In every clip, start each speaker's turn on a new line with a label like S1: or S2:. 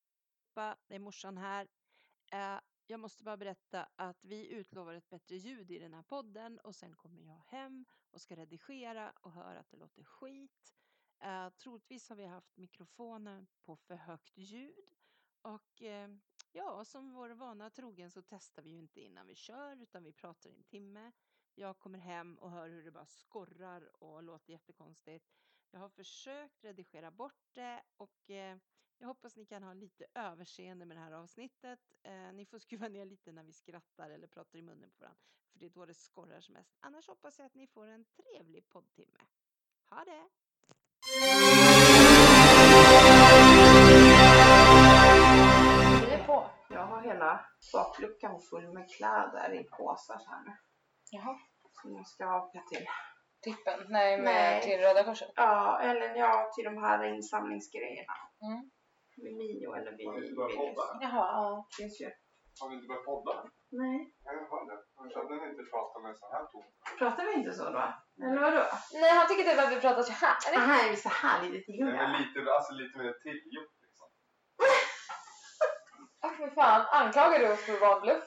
S1: allihopa, det är morsan här. Eh, jag måste bara berätta att vi utlovar ett bättre ljud i den här podden och sen kommer jag hem och ska redigera och höra att det låter skit. Eh, troligtvis har vi haft mikrofonen på för högt ljud och eh, ja, som vår vana trogen så testar vi ju inte innan vi kör utan vi pratar i en timme. Jag kommer hem och hör hur det bara skorrar och låter jättekonstigt. Jag har försökt redigera bort det och eh, jag hoppas ni kan ha lite överseende med det här avsnittet. Eh, ni får skruva ner lite när vi skrattar eller pratar i munnen på varandra för det är då det skorrar som mest. Annars hoppas jag att ni får en trevlig poddtimme. Ha det!
S2: Det är på. Jag har hela bakluckan full med kläder i påsar så här nu.
S3: Jaha.
S2: Som jag ska avka till.
S3: Tippen? Nej, men
S2: Nej.
S3: till Röda Korset.
S2: Ja, eller ja, till de här insamlingsgrejerna.
S3: Mm.
S2: Vid Mio eller vid
S4: Har du börjat
S2: Willys.
S4: podda?
S3: Jaha.
S2: Det finns ju.
S4: Har vi inte börjat podda?
S2: Nej.
S4: Jag hörde. Jag kände att ni inte pratade med så här ton.
S2: Pratar vi inte så då? Eller vadå?
S3: Nej, han tycker typ att vi pratar så här.
S2: Aha, är vi så här lite
S4: Nej, men
S2: ljumma?
S4: lite, alltså lite mer tillgjort liksom.
S3: Åh, fy fan. Anklagar du oss för att vara en bluff?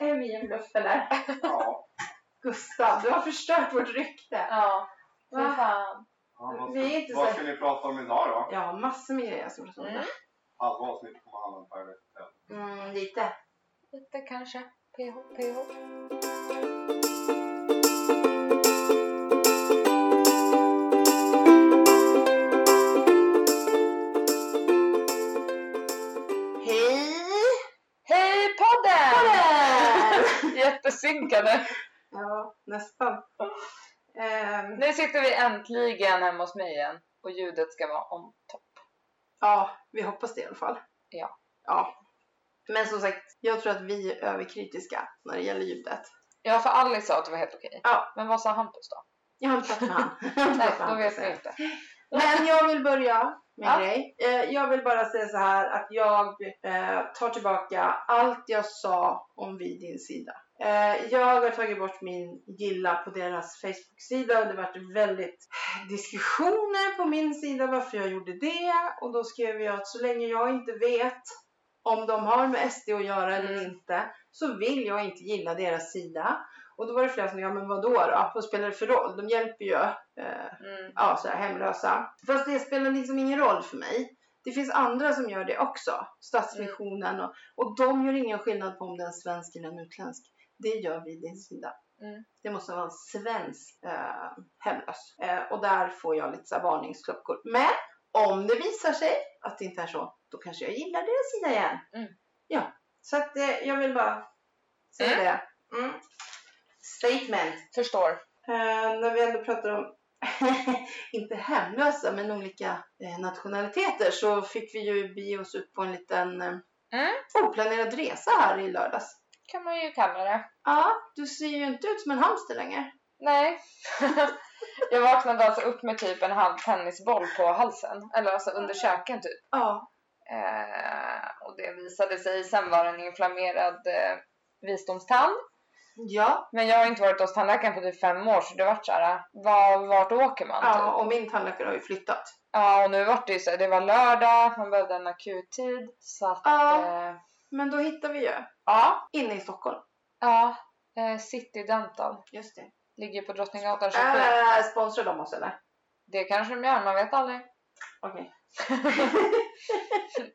S2: Är vi en bluff eller?
S4: Ja.
S2: Gustav, du har förstört vårt rykte.
S3: Ja. Fy
S2: Va?
S3: fan.
S4: Ja, vad,
S2: Vi är
S4: ska,
S2: inte så-
S4: vad ska ni prata om idag då?
S2: Jag har massor med grejer som jag ska prata
S4: Halva avsnittet kommer handla om Pirate Hotel.
S2: om. Mm, lite.
S3: Lite kanske. PH. PH.
S2: Hej!
S3: Hej podden!
S2: Podden!
S3: Jättesynkade.
S2: Ja, nästan. Ehm,
S3: Nu sitter vi äntligen hemma hos mig igen och ljudet ska vara om topp.
S2: Ja, vi hoppas det i alla fall.
S3: Ja.
S2: Ja. Men som sagt, jag tror att vi är överkritiska när det gäller ljudet.
S3: Ja, för Alice sa att det var helt okej.
S2: Ja.
S3: Men vad sa Hampus då?
S2: Jag har inte pratat med han. Jag har inte
S3: Nej,
S2: pratat med
S3: då
S2: han,
S3: vet
S2: så att säga.
S3: vi inte.
S2: Men jag vill börja med en
S3: Ja.
S2: grej. Eh, Jag vill bara säga så här att jag eh, tar tillbaka allt jag sa om Vid din sida. Eh, Jag har tagit bort min gilla på deras Facebook-sida och det varit väldigt diskussioner på min sida varför jag gjorde det och då skrev jag att så länge jag inte vet om de har med SD att göra eller
S3: Mm.
S2: inte så vill jag inte gilla deras sida. Och då var det flera som sa, ja men vadå då? Vad spelar det för roll? De hjälper ju eh,
S3: Mm.
S2: ja, så här, hemlösa. Fast det spelar liksom ingen roll för mig. Det finns andra som gör det också. Stadsmissionen och, och de gör ingen skillnad på om det är en svensk eller en utländsk. Det gör vi i din sida.
S3: Mm.
S2: Det måste vara en svensk eh, hemlös. Eh, och där får jag lite så här, varningsklockor. Men om det visar sig att det inte är så, då kanske jag gillar deras sida igen.
S3: Mm.
S2: Ja, så att eh, jag vill bara säga
S3: Mm.
S2: det. Mm. Statement.
S3: Förstår.
S2: Eh, när vi ändå pratar om, inte hemlösa, men olika eh, nationaliteter så fick vi ju bege oss ut på en liten eh,
S3: Mm.
S2: oplanerad resa här i lördags.
S3: Kan man ju kalla det.
S2: Ja, du ser ju inte ut som en hamster längre.
S3: Nej. jag vaknade alltså upp med typ en halv tennisboll på halsen. Eller alltså under käken typ.
S2: Ja,
S3: Eh, och det visade sig sen vara en inflammerad eh, visdomstand.
S2: ja,
S3: Men jag har inte varit hos tandläkaren på typ fem år så det vart såhär, var, vart åker man?
S2: ja
S3: Typ?
S2: och min tandläkare har ju flyttat.
S3: Ja och nu vart det ju såhär, det var lördag, man behövde en akuttid. Så att,
S2: Ja.
S3: eh,
S2: Men då hittar vi ju
S3: ja.
S2: inne i Stockholm.
S3: Ja. Eh, City Dental.
S2: Just det.
S3: Ligger på Drottninggatan 27.
S2: Äh, sponsrar de oss eller?
S3: Det kanske de gör, man vet aldrig.
S2: Okej.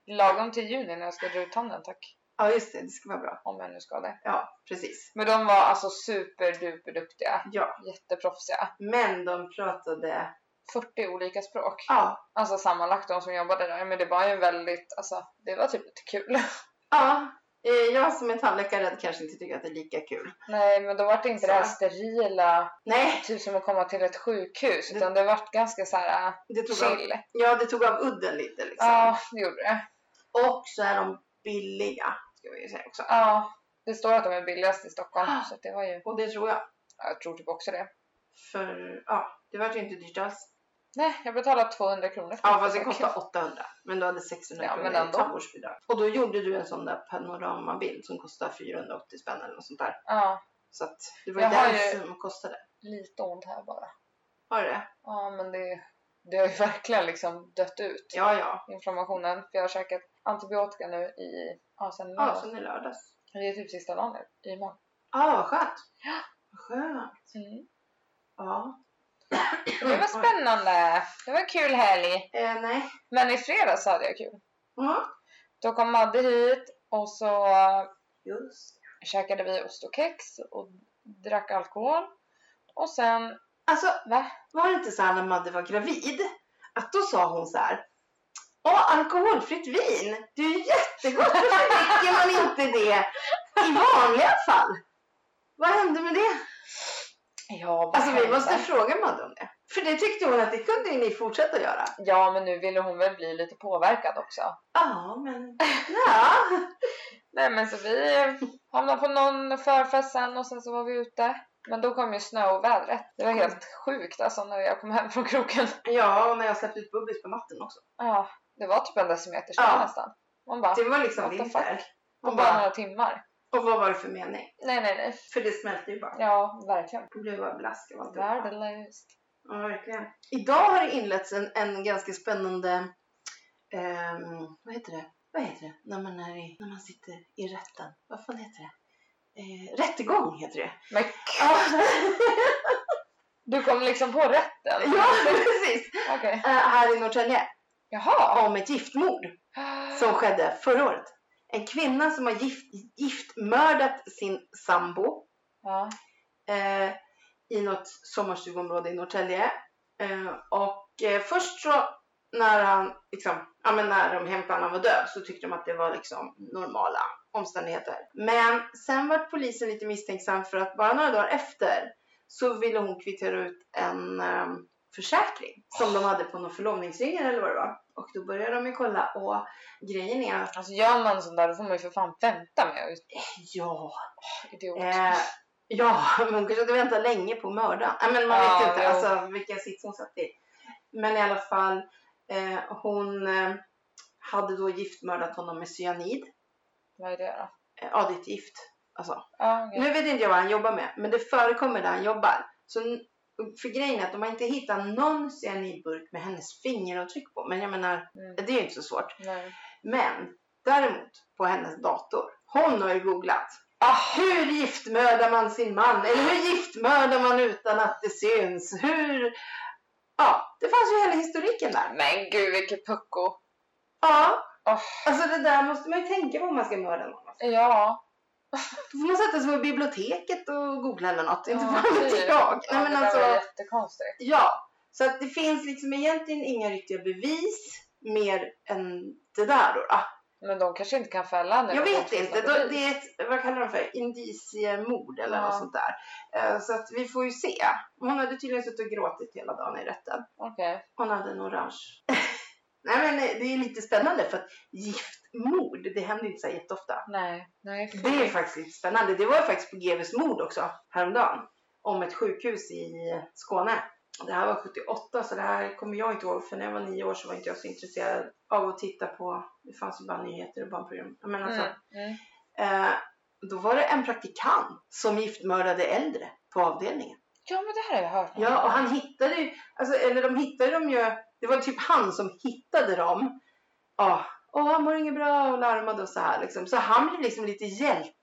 S3: Lagom till juni när jag ska dra ut tanden tack.
S2: Ja, just det. Det ska vara bra.
S3: Om jag nu ska det.
S2: Ja, precis.
S3: Men de var alltså superduperduktiga.
S2: Ja.
S3: Jätteproffsiga.
S2: Men de pratade...
S3: 40 olika språk.
S2: Ja,
S3: Alltså sammanlagt de som jobbade där. Men det var ju en väldigt, alltså det var typ lite kul.
S2: ja. Eh, Jag som är tandläkare kanske inte tycker att det är lika kul.
S3: Nej men då var det inte det här
S2: Så.
S3: sterila,
S2: Nej,
S3: typ som att komma till ett sjukhus.
S2: Det-
S3: Utan det vart ganska så här äh,
S2: Det tog av,
S3: chill.
S2: ja, det tog av udden lite liksom.
S3: Ja, det gjorde det.
S2: Och så är de billiga, ska vi ju säga också.
S3: Ja, det står att de är billigast i Stockholm.
S2: Ah.
S3: Så att det var ju,
S2: Och det tror jag.
S3: ja, jag tror typ också det.
S2: För, ja, det var ju inte dyrt alls.
S3: Nej, jag betalade 200 kronor för
S2: Ja,
S3: mitt
S2: fast det
S3: besök.
S2: kostade 800. Men du hade 600
S3: Ja, men
S2: kronor i
S3: ändå.
S2: tandvårdsbidrag. Och då gjorde du en sån där panoramabild som kostade 480 spänn eller något sånt där.
S3: Ja,
S2: Så att det var ju
S3: Jag har
S2: den
S3: ju-
S2: som kostade.
S3: lite ont här bara.
S2: Har du det?
S3: Ja, men det, det har ju verkligen liksom dött ut.
S2: Ja, ja.
S3: Inflammationen. För jag har käkat antibiotika nu i, ja sen
S2: Ja,
S3: lördags.
S2: sen i lördags.
S3: Det är typ sista dagen nu, i Mm. imorgon.
S2: Ja, ah, vad skönt. Vad skönt. Ja.
S3: Det
S2: Mm,
S3: var spännande! Det var en kul helg.
S2: Eh, nej.
S3: Men i fredags hade jag kul.
S2: Ja,
S3: Då kom Madde hit och så
S2: just
S3: käkade vi ost och kex och drack alkohol. Och sen,
S2: Alltså,
S3: va?
S2: var det inte så här när Madde var gravid? Att då sa hon så här. Åh, alkoholfritt vin! Det är ju jättegott! Varför dricker man inte det i vanliga fall? Vad hände med det?
S3: Ja, vad
S2: Alltså vi
S3: hände?
S2: måste fråga Madde om det. För det tyckte hon att det kunde ju ni fortsätta göra.
S3: Ja, men nu ville hon väl bli lite påverkad också.
S2: Ja, men... Ja.
S3: Nej, men så vi hamnade på någon förfest sen och sen så var vi ute. Men då kom ju snöovädret. Det var
S2: Mm.
S3: helt sjukt alltså när jag kom hem från kroken.
S2: ja, och när jag släppte ut bubbis på natten också.
S3: Ja, det var typ en decimeter snö
S2: Ja.
S3: nästan. Man bara,
S2: Det var liksom
S3: What the
S2: vinter.
S3: fuck? på
S2: Och,
S3: bara
S2: bara,
S3: några timmar.
S2: och vad var det för mening?
S3: Nej, nej, nej.
S2: För det smälte ju bara.
S3: Ja, verkligen.
S2: Det blev bara blask av alltihopa.
S3: Värdelöst.
S2: Ja, verkligen. Idag har det inletts en, en ganska spännande... ehm, vad heter det? Vad heter det? När man, är i, när man sitter i rätten. Vad fan heter det? Eh, rättegång heter det.
S3: Men
S2: Ja,
S3: du kom liksom på rätten?
S2: ja precis.
S3: Okej.
S2: Eh, här i Norrtälje.
S3: Jaha!
S2: Om ett giftmord som skedde förra året. En kvinna som har gift, giftmördat sin sambo.
S3: Ja.
S2: eh, i något sommarstugområde i Norrtälje. Eh, och eh, först så när han, liksom, ja men när de hämtade honom var död så tyckte de att det var liksom normala omständigheter. Men sen var polisen lite misstänksam för att bara några dagar efter så ville hon kvittera ut en eh, försäkring som de hade på någon förlovningsringar eller vad det var. Och då började de ju kolla och grejen är att
S3: Alltså gör man sånt där då får man ju för fan vänta med ut.
S2: ja,
S3: Idiot.
S2: Eh, ja, men hon kanske hade väntat länge på mördaren. Nej, men man
S3: Ja,
S2: vet ju inte
S3: jo.
S2: alltså, vilken sits hon satt i. Men i alla fall, eh, hon eh, hade då giftmördat honom med cyanid.
S3: Vad är det då?
S2: Eh, ja, det är ett gift. Alltså.
S3: Ja, okej.
S2: Nu vet inte jag vad han jobbar med, men det förekommer där han jobbar. Så, n- för grejen är att de har inte hittat någon cyanidburk med hennes fingeravtryck på. Men jag menar,
S3: Mm.
S2: det är ju inte så svårt.
S3: Nej.
S2: Men däremot på hennes dator. Hon har ju googlat.
S3: Ah,
S2: Hur giftmördar man sin man? Eller hur giftmördar man utan att det syns? Hur... Ja, det fanns ju hela historiken där.
S3: men gud vilket pucko.
S2: Ja,
S3: Åh.
S2: alltså det där måste man ju tänka på om man ska mörda någon.
S3: Ja.
S2: Då får man sätta sig på biblioteket och googla eller något. Inte
S3: Ja,
S2: fan vet
S3: typ.
S2: jag.
S3: ja
S2: Nej,
S3: det
S2: men
S3: där
S2: alltså,
S3: var jättekonstigt.
S2: ja. Så att det finns liksom egentligen inga riktiga bevis mer än det där då. då.
S3: Men de kanske inte kan fälla nu.
S2: Jag
S3: De
S2: vet
S3: finns
S2: inte.
S3: något
S2: Då-
S3: bevis.
S2: Det är ett, vad kallar de för, indiciemord eller
S3: Ja.
S2: något sånt där. Eh, Så att vi får ju se. Hon hade tydligen suttit och gråtit hela dagen i rätten.
S3: Okej.
S2: Hon hade en orange. Nej men eh, det är lite spännande för att giftmord, det händer inte så här jätteofta.
S3: Nej. Nej. Mm. fy.
S2: Det är faktiskt lite spännande. Det var ju faktiskt på GVs mord också häromdagen. Om ett sjukhus i Skåne. Det här var 78 så det här kommer jag inte ihåg för när jag var nio år så var inte jag så intresserad av att titta på, det fanns ju bara nyheter och barnprogram. Men alltså,
S3: Mm. Mm.
S2: Eh, då var det en praktikant som giftmördade äldre på avdelningen.
S3: Ja men det här har jag hört. om.
S2: Ja, och han hittade ju, alltså, eller de hittade dem ju, det var typ han som hittade dem. Ja, och han mår inget bra och larmade och så här liksom. Så han blev liksom lite hjälte.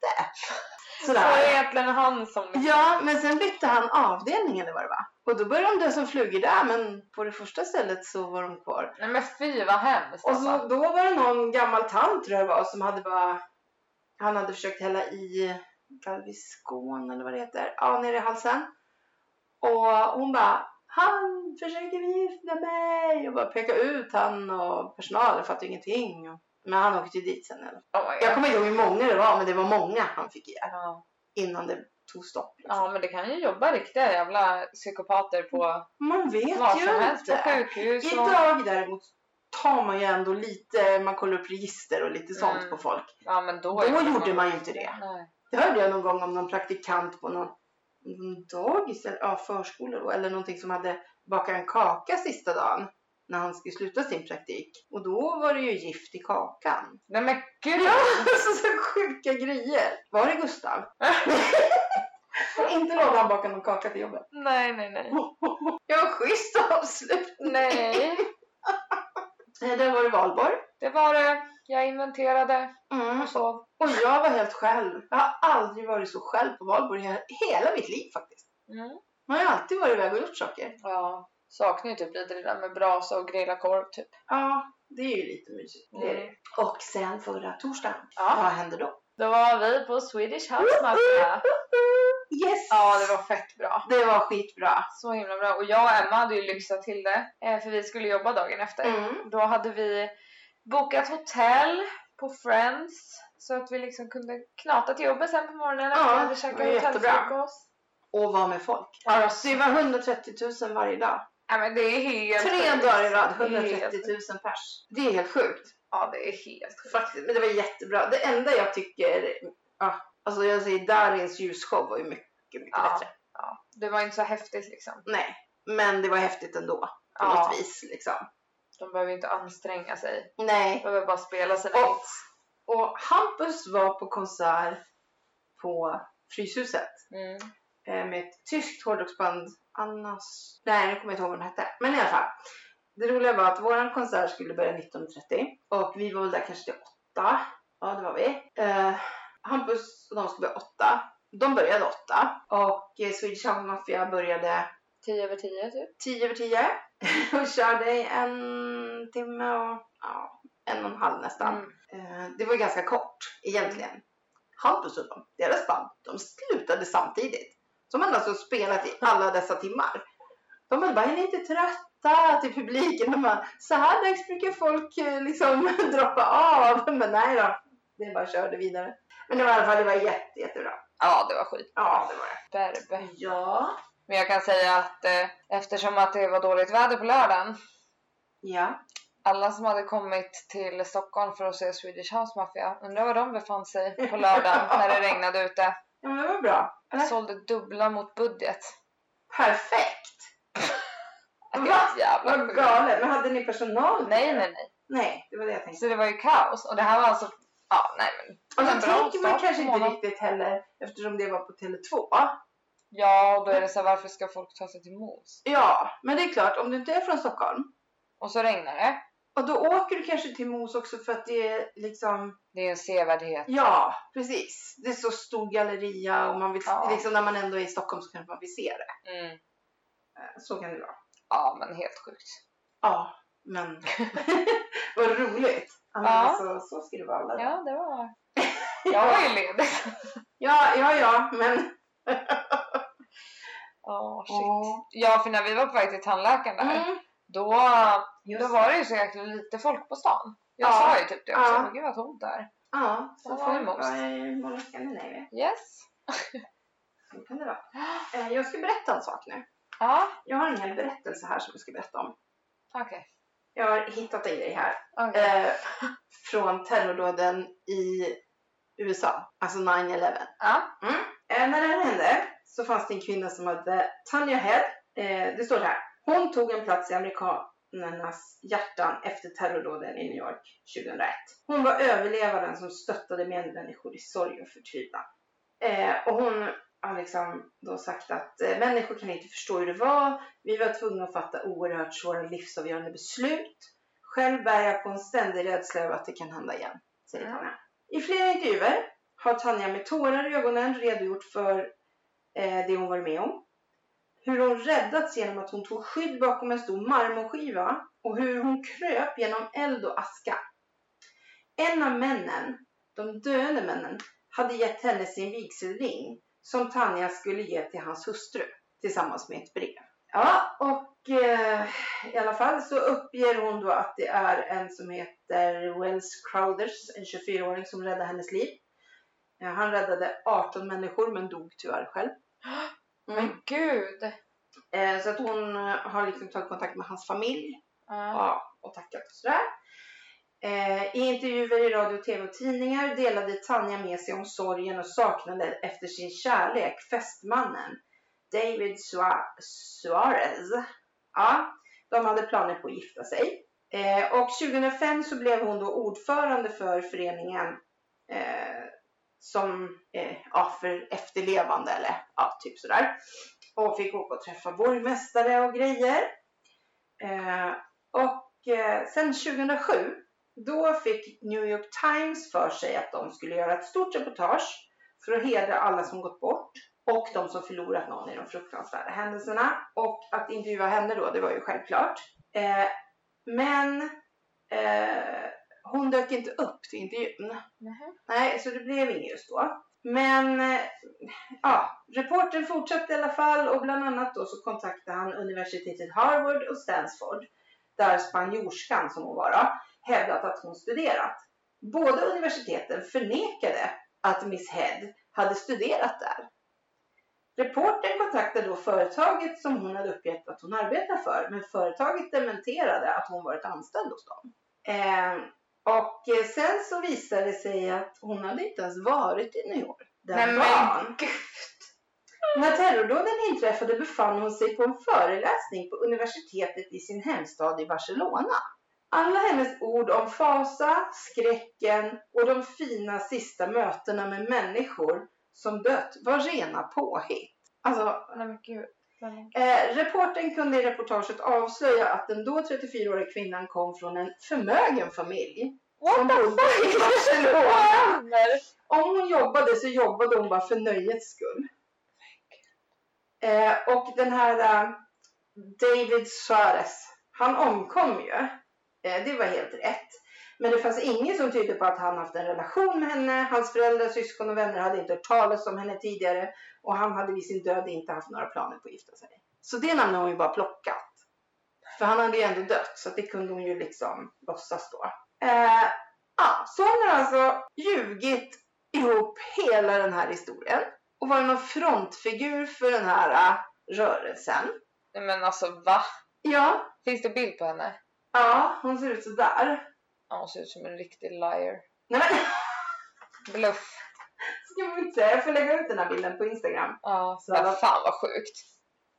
S3: Så är det
S2: Sådär.
S3: egentligen han som...
S2: Ja, men sen bytte han avdelning eller vad det var. Och då började de dö som flugor där, men på det första stället så var de kvar.
S3: Nej men fy vad hemskt
S2: Och
S3: alltså.
S2: så, då var det någon gammal tant tror jag det var som hade bara Han hade försökt hälla i Galviskon eller vad det heter Ja, nere i halsen Och hon bara Han försöker gifta mig och bara peka ut han och personalen fattar ingenting Och- Men han åkte ju dit sen eller?
S3: Oh my God.
S2: Jag kommer inte ihåg hur många det var men det var många han fick ihjäl
S3: Ja.
S2: innan det tog stopp liksom.
S3: ja men det kan ju jobba riktiga jävla psykopater på
S2: Man vet
S3: vad
S2: ju
S3: som helst. På
S2: inte
S3: sjukhus och...
S2: Idag däremot tar man ju ändå lite, man kollar upp register och lite sånt
S3: Mm.
S2: på folk
S3: Ja men då...
S2: Då
S3: är det-
S2: gjorde man ju inte det.
S3: Nej.
S2: Det hörde jag någon gång om någon praktikant på någon någon dagis eller ja, förskola då, eller någonting som hade bakat en kaka sista dagen när han skulle sluta sin praktik. Och då var det ju gift i kakan.
S3: Nej men gud!
S2: Alltså så sjuka grejer. Var det Gustav? Får inte låta han baka någon kaka till jobbet.
S3: Nej, nej, nej.
S2: Ja, vad schysst avslut.
S3: Nej,
S2: Eh, Där var det valborg.
S3: det var det. Jag inventerade
S2: Mm.
S3: och så.
S2: Och jag var helt själv. Jag har aldrig varit så själv på valborg i he- hela mitt liv faktiskt.
S3: Mm.
S2: Man har ju alltid varit iväg och gjort saker.
S3: Ja, saknar ju typ lite det där med brasa och grilla korv typ.
S2: Ja, det är ju lite mysigt. Det är det. Mm. Och sen förra torsdagen, vad
S3: Ja.
S2: hände då?
S3: Då var vi på Swedish House Mafia.
S2: Yes!
S3: Ja, det var fett bra.
S2: det var skitbra.
S3: Så himla bra. Och jag och Emma hade ju lyxat till det. eh, För vi skulle jobba dagen efter.
S2: Mm.
S3: Då hade vi bokat hotell på Friends. Så att vi liksom kunde knata till jobbet sen på morgonen
S2: Ja,
S3: när vi hade
S2: det
S3: käkat
S2: var jättebra.
S3: hotellfrukost.
S2: Och var med folk.
S3: Ja, det var
S2: Så det var 130 000 varje dag.
S3: Nej men det är helt
S2: Tre
S3: sjukt.
S2: dagar i rad,
S3: Det är helt
S2: 130
S3: sjukt.
S2: 000 pers. Det är helt sjukt.
S3: Ja det är helt sjukt.
S2: Faktiskt, men det var jättebra. Det enda jag tycker, ja, alltså jag säger Darins ljusshow var ju mycket, mycket
S3: Ja.
S2: bättre.
S3: Det var inte så häftigt liksom.
S2: Nej, men det var häftigt ändå på
S3: Ja,
S2: något vis liksom.
S3: de behöver inte anstränga sig. De
S2: Nej.
S3: behöver bara spela sina
S2: Och,
S3: hits.
S2: och Hampus var på konsert på Fryshuset
S3: Mm.
S2: eh, med ett tyskt hårdrocksband. Annas... Nej, nu kommer jag inte ihåg vad den hette. Men i alla fall. Det roliga var att vår konsert skulle börja 19.30 och vi var väl där kanske till 8. Ja, det var vi. Eh, Hampus och de skulle börja 8. De började 8 och eh, Swedish House Mafia började
S3: Tio över tio typ.
S2: 10 över 10 och körde i en timme och ja, en och en halv nästan.
S3: Mm.
S2: Eh, Det var ganska kort egentligen. Hampus och de, deras band, de slutade samtidigt. De hade alltså spelat i alla dessa timmar. De hade bara, är ni inte trötta till publiken? De bara, så här dags brukar folk eh, liksom droppa av. Men nej då, det bara körde vidare. Men det var i alla fall det var jätte, jättebra.
S3: Ja det var skit.
S2: Ja, det var det.
S3: Berbe.
S2: Ja.
S3: Men jag kan säga att eh, eftersom att det var dåligt väder på lördagen.
S2: Ja.
S3: Alla som hade kommit till Stockholm för att se Swedish House Mafia. Undrar var de befann sig på lördagen när det regnade ute.
S2: Ja, men det var bra. Eller?
S3: Sålde dubbla mot budget.
S2: Perfekt!
S3: Det är
S2: Va?
S3: ett jävla
S2: Vad
S3: sjukt.
S2: galet. Men hade ni personal?
S3: Nej nej nej.
S2: Nej, det var det jag tänkte.
S3: Så det var ju kaos. Och det här var alltså... Ja nej men.
S2: Och då
S3: En bra
S2: tänker man
S3: start på
S2: kanske inte
S3: månaden.
S2: riktigt heller eftersom det var på Tele2.
S3: Ja och då är det så här, varför ska folk ta sig till Mos?
S2: Ja, men det är klart om du inte är från Stockholm
S3: Och så regnar det.
S2: och då åker du kanske till Mos också för att det är liksom,
S3: Det är en sevärdhet.
S2: ja precis. Det är så stor galleria och man vill,
S3: Ja.
S2: liksom när man ändå är i Stockholm så kanske man vill se det. Eh,
S3: Mm.
S2: Så kan det vara.
S3: Ja men helt sjukt.
S2: Ja, men vad roligt. Ja, men
S3: Ja.
S2: Alltså, så ska det vara alla
S3: Ja det var... Jag var ju ledig.
S2: ja, ja, ja, men
S3: Ja shit.
S2: Åh.
S3: Ja för när vi var på väg till tandläkaren där.
S2: mm,
S3: Då
S2: just
S3: Då var det ju så jäkla lite folk på stan. Jag
S2: Ja.
S3: sa ju typ det också.
S2: Ja.
S3: Men gud vad tomt det är.
S2: Ja, så
S3: Ja,
S2: får det
S3: Mos.
S2: vara i Moriska Nineve.
S3: Yes.
S2: Så kan det vara. Eh, Jag ska berätta en sak nu.
S3: Ja,
S2: Jag har en hel berättelse här som jag ska berätta om.
S3: okej.
S2: Jag har hittat en grej här.
S3: Okej.
S2: Eh, från terrordåden i USA, alltså 9-11.
S3: Ja.
S2: Eh, när det här hände så fanns det en kvinna som hade Tanya Head. Eh, det står så här. Hon tog en plats i amerikanernas hjärtan efter terrordåden i New York 2001. Hon var överlevaren som stöttade medmänniskor i sorg och förtvivlan. Eh, och hon har liksom då sagt att eh, människor kan inte förstå hur det var. Vi var tvungna att fatta oerhört svåra livsavgörande beslut. Själv bär jag på en ständig rädsla över att det kan hända igen, säger
S3: Mm.
S2: Tanja. I flera intervjuer har Tanja med tårar i ögonen redogjort för eh, det hon varit med om. Hur hon räddats genom att hon tog skydd bakom en stor marmorskiva och hur hon kröp genom eld och aska. En av männen, de döende männen, hade gett henne sin vigselring som Tanja skulle ge till hans hustru tillsammans med ett brev. Ja, och eh, i alla fall så uppger hon då att det är en som heter Wells Crowders, en 24-åring som räddade hennes liv. Eh, han räddade 18 människor men dog tyvärr själv. Mm.
S3: Men gud.
S2: Eh, så att hon eh, har liksom tagit kontakt med hans familj
S3: Ja.
S2: Ja, och tackat och sådär. Eh, I intervjuer i radio, tv och tidningar delade Tanja med sig om sorgen och saknaden efter sin kärlek, fästmannen David Sua- Suarez. Ja, de hade planer på att gifta sig. Eh, och 2005 så blev hon då ordförande för föreningen eh, som eh, ja, för efterlevande eller ja, typ sådär. Och fick åka och träffa borgmästare och grejer. Eh, och eh, sen 2007 då fick New York Times för sig att de skulle göra ett stort reportage för att hedra alla som gått bort och de som förlorat någon i de fruktansvärda händelserna. Och att intervjua henne då, det var ju självklart. Eh, men eh, hon dök inte upp till intervjun.
S3: Mhm.
S2: Nej, så det blev inget just då. Men eh, ja, reportern fortsatte i alla fall och bland annat då så kontaktade han universitetet Harvard och Stanford där spanjorskan som hon var då, hävdat att hon studerat. Båda universiteten förnekade att Miss Head hade studerat där. Reportern kontaktade då företaget som hon hade uppgett att hon arbetar för men företaget dementerade att hon varit anställd hos dem. Eh, och eh, sen så visade det sig att hon hade inte ens varit i New York den
S3: Nej, men
S2: dagen.
S3: gud.
S2: När terrordåden inträffade befann hon sig på en föreläsning på universitetet i sin hemstad i Barcelona. Alla hennes ord om fasa, skräcken och de fina sista mötena med människor som dött var rena påhitt. Alltså,
S3: Nej men gud. Nej, men gud.
S2: Eh, reporten kunde i reportaget avslöja att den då 34-åriga kvinnan kom från en förmögen familj som bodde i Barcelona. Om hon jobbade så jobbade hon bara för nöjets skull. Eh, och den här eh, David Suarez, han omkom ju. Eh, det var helt rätt. Men det fanns inget som tydde på att han haft en relation med henne. Hans föräldrar, syskon och vänner hade inte hört talas om henne tidigare. Och han hade vid sin död inte haft några planer på att gifta sig. Så det namnet har hon ju bara plockat. För han hade ju ändå dött, så att det kunde hon ju liksom låtsas då. Eh, ja, så hon har alltså ljugit ihop hela den här historien. Och varit någon frontfigur för den här eh, rörelsen.
S3: Nej men alltså va?
S2: Ja,
S3: Finns det bild på henne?
S2: ja, hon ser ut sådär.
S3: Ja, hon ser ut som en riktig liar.
S2: Nej men,
S3: Bluff.
S2: ska man inte säga. Jag får lägga ut den här bilden på Instagram.
S3: Ja, men fan vad sjukt.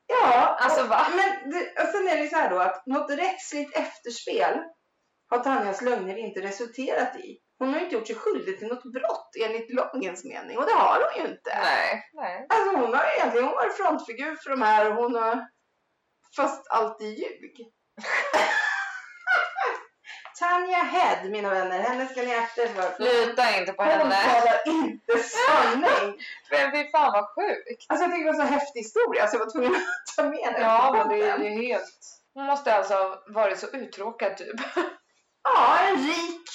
S2: Ja,
S3: Alltså va?
S2: Men det, och sen är det ju så här då att något rättsligt efterspel har Tanjas lögner inte resulterat i. Hon har ju inte gjort sig skyldig till något brott enligt lagens mening och det har hon ju inte.
S3: Nej, nej.
S2: Alltså hon har ju egentligen hon varit frontfigur för de här och hon har fast alltid ljug. Tanja Head, mina vänner, henne ska ni akta er för.
S3: Lita inte på
S2: Hon
S3: henne.
S2: talar inte sanning.
S3: Men fy fan vad sjukt.
S2: Alltså jag tycker det var en så häftig historia så jag var tvungen att ta med den.
S3: Ja, men det är ju helt... Hon måste alltså ha varit så uttråkad typ.
S2: Ja, en rik,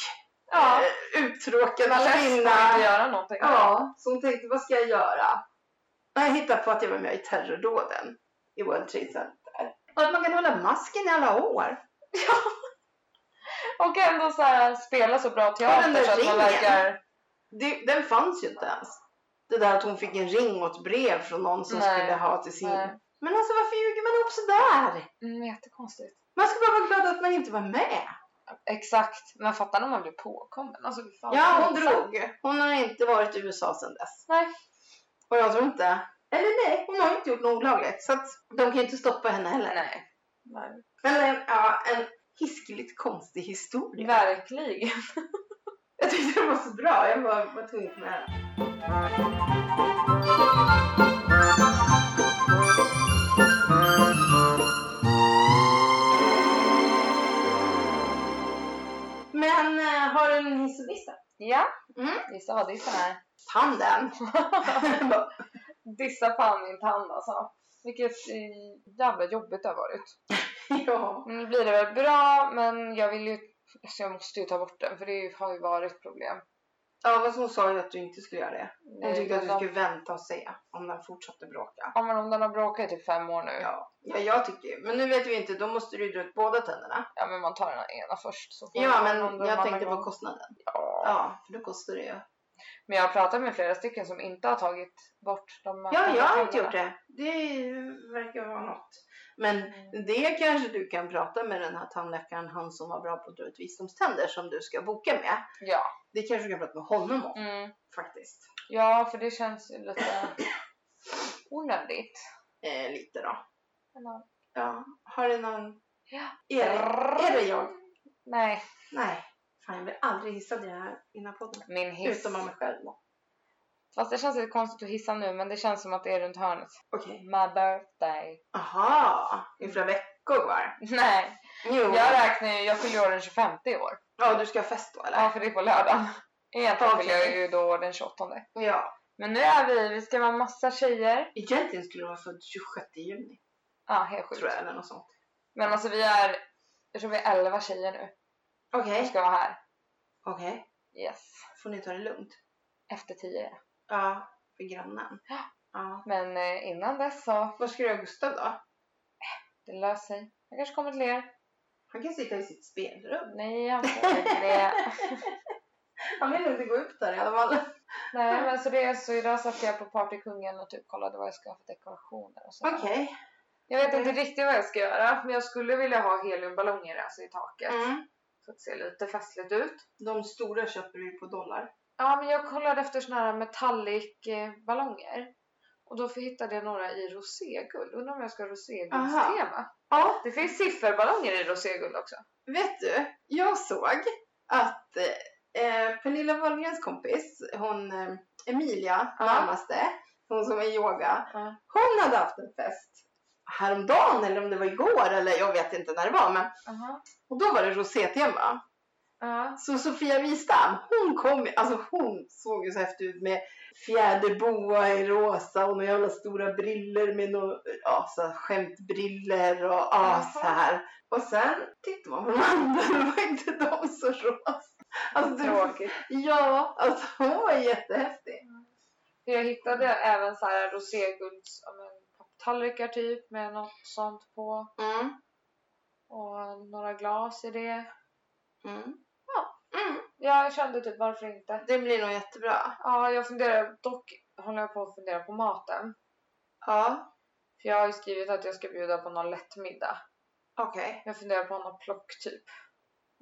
S3: Ja.
S2: eh, uttråkad
S3: Less på
S2: kvinna.
S3: att inte göra någonting.
S2: Ja, så hon tänkte, vad ska jag göra? Ja, Jag hittade på att jag var med i terrordåden i World Trade Center. Och att man kan hålla masken i alla år.
S3: Och ändå så här, spela så bra
S2: Och den
S3: teater
S2: där
S3: så att man
S2: ringen.
S3: verkar...
S2: Det, den fanns ju inte ens. Det där att hon fick en ring och ett brev från någon som
S3: Nej,
S2: skulle ha till sin...
S3: Nej.
S2: Men alltså varför ljuger man ihop sådär?
S3: Mm, jättekonstigt.
S2: Man ska bara vara glad att man inte var med.
S3: Exakt. Men fattar när man blir påkommen. Alltså, fy fan,
S2: Ja, hon
S3: pinsamt.
S2: drog. Hon har inte varit i USA sedan dess.
S3: Nej.
S2: Och jag tror inte... Eller nej, hon har inte gjort något olagligt. Så att de kan ju inte stoppa henne heller.
S3: Nej. Nej.
S2: Eller en, ja, en hiskeligt konstig historia.
S3: Verkligen.
S2: Jag tyckte det var så bra. Jag var, var tvungen att få med den. Men eh, har du en hiss och diss då?
S3: Ja.
S2: Mm.
S3: Gissa vad dissen är.
S2: Tanden!
S3: Dissa fan min tand alltså. Vilket eh, jävla jobbigt det har varit.
S2: ja.
S3: Nu blir det väl bra, men jag vill ju... Alltså jag måste ju ta bort den, för det har ju varit problem.
S2: ja, vad hon sa ju att du inte skulle göra det. Hon
S3: Eh,
S2: tyckte att
S3: men
S2: du
S3: de-
S2: skulle vänta och se om den fortsatte bråka.
S3: Ja, men om den har bråkat i typ fem år nu. Ja.
S2: Ja, ja jag tycker ju. Men nu vet vi inte, då måste du ju dra ut båda tänderna.
S3: men man tar den ena först. Så får
S2: Ja,
S3: man den
S2: men
S3: andra
S2: jag
S3: någon
S2: tänkte
S3: annan
S2: på
S3: gång.
S2: kostnaden.
S3: Ja.
S2: Ja, för då kostar det ju.
S3: Men jag har pratat med flera stycken som inte har tagit bort de här
S2: Ja, jag har inte
S3: tänderna.
S2: gjort det. Det verkar vara något. Men det kanske du kan prata med den här tandläkaren, han som var bra på att dra ut visdomständer som du ska boka med.
S3: Ja.
S2: Det kanske du kan prata med honom om
S3: Mm.
S2: faktiskt.
S3: Ja, för det känns ju lite onödigt.
S2: Eh, lite då.
S3: Eller-
S2: Ja. Har du någon?
S3: Ja.
S2: Är det, är det jag?
S3: Nej,
S2: Nej. Fan, jag blir aldrig hissad i den här, i den här podden.
S3: min hiss.
S2: Utom av mig själv då.
S3: Fast det känns lite konstigt att hissa nu men det känns som att det är runt hörnet.
S2: Okej.
S3: My birthday.
S2: Aha, i flera
S3: Mm.
S2: veckor var
S3: Nej,
S2: Jo.
S3: jag räknar ju, jag fyller år den 25 i år.
S2: Ja, du ska ha fest då
S3: Ja,
S2: eller?
S3: för det är på lördagen. Egentligen
S2: Okej.
S3: fyller jag ju då den 28.
S2: Ja.
S3: Men nu är vi, vi ska vara massa tjejer.
S2: Egentligen skulle du vara född 26 juni,
S3: Ja, helt sjukt.
S2: tror jag, eller något sånt.
S3: Men alltså vi är, jag tror vi är 11 tjejer nu
S2: Okej.
S3: som ska vara här.
S2: Okej.
S3: Yes.
S2: Får ni ta det lugnt?
S3: Efter 10.
S2: Ja, för grannen. Ja.
S3: Men eh, innan dess så,
S2: Vad ska du göra Gustav då?
S3: det löser sig. Jag kanske kommer till er.
S2: Han kan sitta i sitt spelrum.
S3: Nej, jag får inte det.
S2: Han vill inte gå upp där i alla fall.
S3: Nej, men så det är så idag satt jag på Partykungen och typ kollade vad jag ska ha för dekorationer och så.
S2: Okej.
S3: Jag vet inte riktigt vad jag ska göra, men jag skulle vilja ha heliumballonger alltså i taket.
S2: Mm.
S3: Så att det ser lite festligt ut.
S2: De stora köper du ju på dollar.
S3: Ja, men jag kollade efter såna här metallic eh, ballonger. Och då hittade jag några i roséguld. Undrar om jag ska ha roséguldstema?
S2: Ja,
S3: Det finns sifferballonger i roséguld också.
S2: Vet du, jag såg att eh, Pernilla Wahlgrens kompis, hon eh, Emilia,
S3: Ja.
S2: närmaste, hon som är yoga,
S3: Ja.
S2: hon hade haft en fest häromdagen eller om det var igår eller jag vet inte när det var men
S3: Aha.
S2: och då var det rosétema.
S3: Ja.
S2: Så Sofia Wistam, hon kom, alltså hon såg ju så häftig ut med fjäderboa i rosa och några jävla stora briller med några ja, så här skämtbriller och ja, så här. Och sen tittar man på de andra, då var inte de så rosa. Alltså, du,
S3: Tråkigt.
S2: ja, alltså hon var jättehäftig.
S3: För Jag hittade även så här roségulds ja, men, papptallrikar typ med något sånt på.
S2: Mm,
S3: Och några glas i det.
S2: mm.
S3: Ja, jag kände typ varför inte.
S2: Det blir nog jättebra.
S3: Ja, jag funderar dock håller jag på att fundera på maten.
S2: Ja,
S3: För jag har ju skrivit att jag ska bjuda på någon lätt middag.
S2: okej.
S3: Jag funderar på någon plock typ.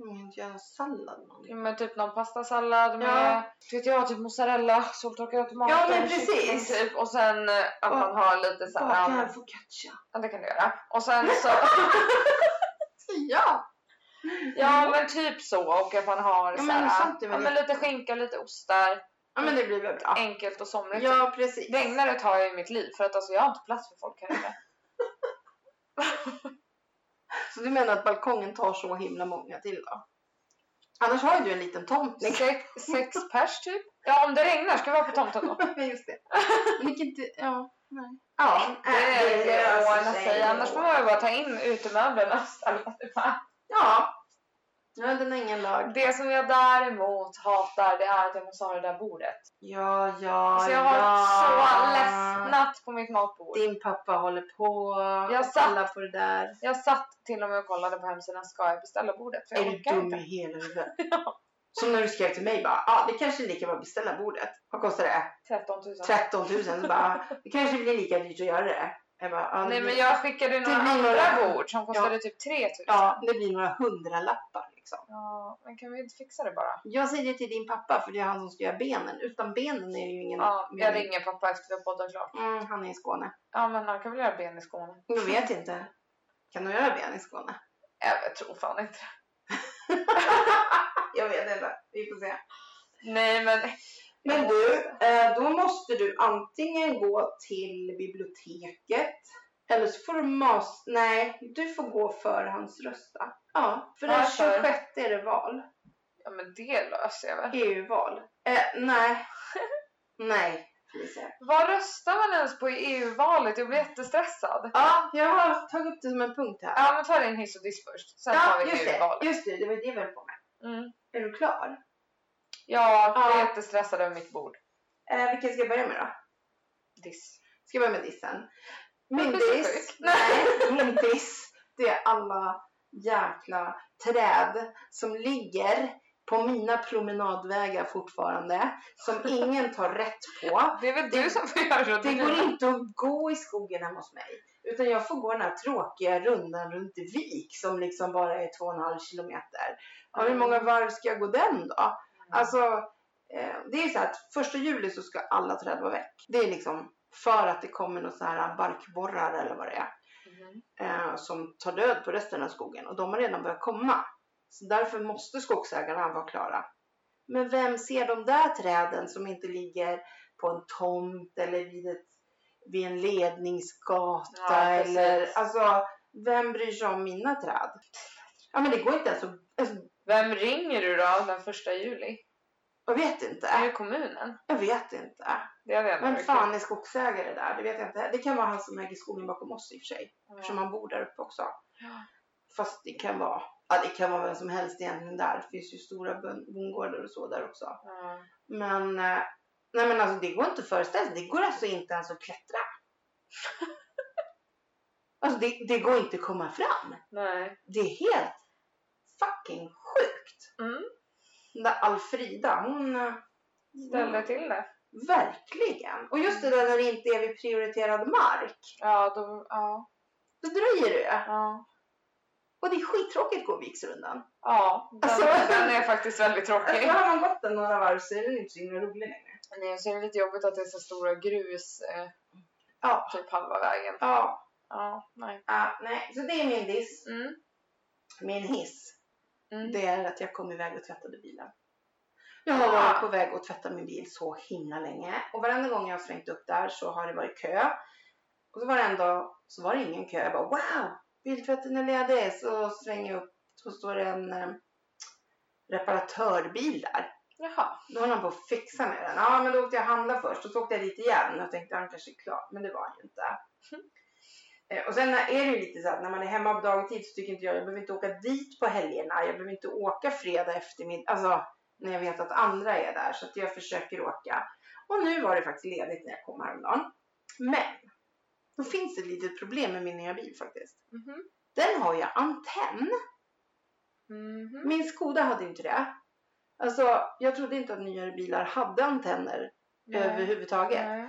S2: Okay. Man inte göra en sallad någonting.
S3: Ja, men typ någon pastasallad med, vet jag, typ mozzarella, soltorkade tomater.
S2: Ja, men
S3: kyckling,
S2: precis.
S3: Typ. Och sen eh, att man har lite så
S2: Baka
S3: här, ja,
S2: en
S3: men-
S2: focaccia.
S3: ja, det kan du göra. Och sen så,
S2: Ja!
S3: ja men typ så. Och att man har
S2: Ja,
S3: så
S2: men
S3: här,
S2: sånt är väl
S3: ja, men lite skinka, lite ostar.
S2: Ja men det blir väl bra.
S3: Enkelt och somrigt.
S2: Ja precis.
S3: Regnaret har jag i mitt liv för att alltså, jag har inte plats för folk här inne.
S2: Så du menar att balkongen tar så himla många till då? Annars har ju du en liten tomt.
S3: Sex, sex pers typ. Ja om det regnar ska vi vara på tomten då.
S2: Ja, Just det. Vilket, inte- ja, nej. Ja,
S3: Det är det
S2: löser
S3: ordnar sig. Annars får man ju bara ta in utemöblerna och ställa tillbaka.
S2: Ja. Ja, den har ingen lag.
S3: Det som jag däremot hatar det är att jag måste ha det där bordet.
S2: Ja, ja,
S3: Så jag har
S2: ja.
S3: så ledsnat på mitt matbord.
S2: Din pappa håller på.
S3: Jag satt-
S2: Alla på det där.
S3: Jag satt till och med och kollade på hemsidan, ska jag beställa bordet? För
S2: Är
S3: jag
S2: du
S3: orkar
S2: dum
S3: inte.
S2: i hela huvudet? Som när du skrev till mig bara, ja ah, det kanske är lika bra att beställa bordet. Vad kostar det?
S3: 13 000.
S2: 13 000. Så bara, det kanske blir lika dyrt att göra det. Jag bara, ah, det
S3: Nej
S2: blir-
S3: men jag skickade några
S2: blir
S3: andra
S2: några-
S3: bord som kostade typ 3 000.
S2: Ja, det blir några hundralappar liksom.
S3: Ja, men kan vi inte fixa det bara?
S2: Jag säger det till din pappa för det är han som ska göra benen. Utan benen är ju ingen
S3: Ja, jag
S2: mening.
S3: ringer pappa efter vi har poddat klart.
S2: Mm, han är i Skåne.
S3: Ja men han kan väl göra ben i Skåne?
S2: Jag vet inte. Kan de göra ben i Skåne?
S3: Jag vet, tror fan inte
S2: Jag vet inte. Vi får se.
S3: Nej men
S2: Men du, eh, då måste du antingen gå till biblioteket eller så får du mas... Nej, du får gå förhandsrösta. Ja, för den
S3: Varför?
S2: 26 är det val.
S3: ja, men det löser jag väl.
S2: EU-val. Eh, nej. nej, Felicia.
S3: Vad röstar man ens på i EU-valet? Jag blir jättestressad.
S2: Ja, jag har tagit upp det som en punkt här.
S3: Ja men ta din hiss och diss först. Sen tar vi
S2: just
S3: EU-valet.
S2: det, just det, det var det vi höll på med.
S3: Mm.
S2: Är du klar?
S3: Ja, jag är
S2: Ja.
S3: jättestressad över mitt bord.
S2: Eh, vilken ska jag börja med då?
S3: Diss.
S2: Ska jag börja med dissen?
S3: Men
S2: Min
S3: blir så
S2: diss,
S3: sjuk.
S2: nej, min diss, det är alla jäkla träd som ligger på mina promenadvägar fortfarande, som ingen tar rätt på.
S3: Det är väl du som får göra det.
S2: Det går inte att gå i skogen hemma hos mig. Utan jag får gå den här tråkiga rundan runt i vik som liksom bara är två och en halv kilometer. Ja, hur många varv ska jag gå den då? Alltså, eh, det är så här att första juli så ska alla träd vara väck. Det är liksom för att det kommer någon så här barkborrar eller vad det är.
S3: Mhm.
S2: Eh, som tar död på resten av skogen och de har redan börjat komma. Så därför måste skogsägarna vara klara. Men vem ser de där träden som inte ligger på en tomt eller vid, ett, vid en ledningsgata.
S3: Ja, precis.
S2: eller, alltså, vem bryr sig om mina träd? Ja, men det går inte ens att... Alltså,
S3: Vem ringer du då den första juli?
S2: jag vet
S3: Det är ju
S2: inte.
S3: kommunen.
S2: Jag vet inte.
S3: Det hade jag
S2: Vem
S3: varit
S2: fan
S3: kul.
S2: är skogsägare där? Det vet jag inte. Det kan vara han som äger skogen bakom oss i och för sig. Eftersom han bor där uppe också.
S3: Ja.
S2: Fast det kan vara... Ja, det kan vara vem som helst egentligen där. Det finns ju stora bön- bondgårdar och så där också.
S3: Ja.
S2: Men, eh, nej men alltså det går inte att föreställa sig. Det går alltså inte ens att klättra. alltså det, det går inte att komma fram.
S3: Nej.
S2: Det är helt fucking sjukt.
S3: Mm.
S2: Den där Alfrida, hon... eh, mm,
S3: Ställde till det.
S2: Verkligen. Och just det där när det inte är vid prioriterad mark.
S3: Ja, då... Ja.
S2: Då dröjer det.
S3: Ja.
S2: Och det är skittråkigt att gå Viksrundan.
S3: Ja, den,
S2: Alltså-
S3: den är faktiskt väldigt
S2: Alltså
S3: tråkig.
S2: har man gått den några varv så är den inte så himla rolig längre.
S3: Men det är så lite jobbigt att det är så stora grus eh,
S2: Ja.
S3: typ halva vägen.
S2: Ja.
S3: Ja, nej.
S2: ja nej. Så det är min diss.
S3: Mm.
S2: Min hiss.
S3: Mm.
S2: Det är att jag kom iväg och tvättade bilen. Jag har varit på väg att tvätta min bil så himla länge. Och varenda gång jag har svängt upp där så har det varit kö. Och så var det en dag så var det ingen kö. Jag bara wow! Biltvätten är ledig. Så svänger jag upp. Så står det en eh, reparatörbil där.
S3: Jaha.
S2: Då höll han på att fixa med den. Ja, men då åkte jag handla först och så åkte jag dit igen och tänkte han kanske är klar, men det var han ju inte. Eh, Och sen är det ju lite så att när man är hemma på dagtid så tycker inte jag, jag behöver inte åka dit på helgerna, jag behöver inte åka fredag eftermiddag, alltså när jag vet att andra är där så att jag försöker åka. Och nu var det faktiskt ledigt när jag kom häromdagen. Men, då finns det ett litet problem med min nya bil faktiskt.
S3: Mhm.
S2: Den har ju antenn.
S3: Mhm.
S2: Min Skoda hade ju inte det. Alltså, jag trodde inte att nyare bilar hade antenner
S3: Nej.
S2: överhuvudtaget.
S3: Nej.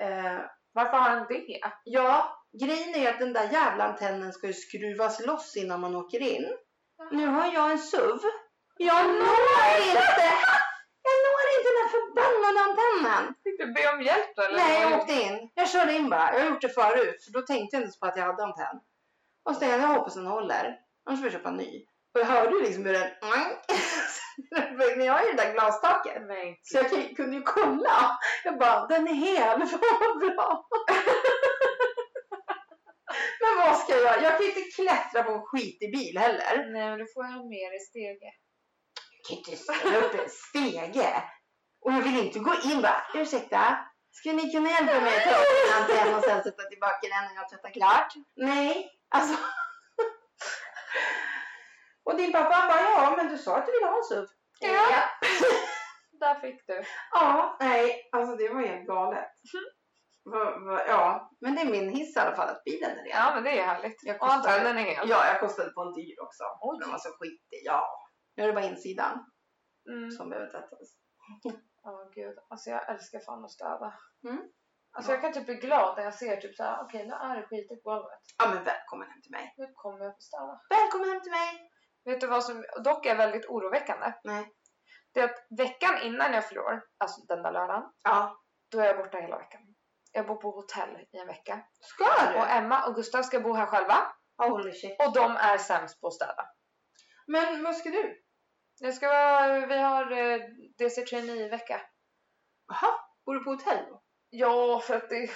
S2: Eh,
S3: Varför har den det?
S2: ja, grejen är ju att den där jävla antennen ska ju skruvas loss innan man åker in. Nu har jag en SUV. Jag når inte! Jag når inte den här förbannade antennen!
S3: Fick du be om hjälp då? Eller
S2: Nej,
S3: vad
S2: jag
S3: gjorde-
S2: åkte in. Jag körde in bara. Jag har gjort det förut, för då tänkte jag inte ens på att jag hade antenn. Och så tänkte jag, jag hoppas den håller. Annars får jag köpa en ny. Och jag hörde ju liksom hur den... Men jag har ju det där glastaket.
S3: Nej.
S2: Så jag kan- kunde ju kolla. Jag bara, den är hel. Vad bra. Men vad ska jag göra? Jag kan ju inte klättra på en skitig bil heller.
S3: Nej, men du får ha med dig stege.
S2: Jag kan inte ställa upp en stege. Och jag vill inte gå in bara, ursäkta, skulle ni kunna hjälpa mig att ta upp min antenn och sen sätta tillbaka den när jag tvättat klart? Nej, alltså. Och din pappa han bara, ja men du sa att du ville ha en SUV.
S3: Ja. Där fick du.
S2: Ja, nej, alltså det var helt galet. Va- va- Ja, men det är min hiss i alla fall att bilen är
S3: Ja,
S2: ren.
S3: men det är härligt.
S2: Jag
S3: Och
S2: kostade,
S3: antennen är hel.
S2: ja, jag kostade på en dyr också.
S3: Oj.
S2: Den var så skitig, ja. Nu är det bara insidan
S3: Mm.
S2: som behöver tvättas.
S3: Ja, gud. Alltså jag älskar fan att städa.
S2: Mm.
S3: Alltså jag kan typ bli glad när jag ser typ såhär, okej nu är det skitigt på golvet.
S2: Ja, men välkommen hem till mig.
S3: Nu kommer jag få städa.
S2: Välkommen hem till mig!
S3: Vet du vad som dock är väldigt oroväckande?
S2: Nej.
S3: Det är att veckan innan jag förlorar, alltså den där lördagen,
S2: Ja.
S3: då är jag borta hela veckan. Jag bor på hotell i en vecka.
S2: Ska
S3: Och
S2: du?
S3: Emma och Gustav ska bo här själva.
S2: oh, Holy shit.
S3: Och de är sämst på att städa.
S2: Men vad ska du?
S3: Det ska vara, vi har eh, DC trainee vecka.
S2: Jaha, bor du på hotell då?
S3: Ja, för att det...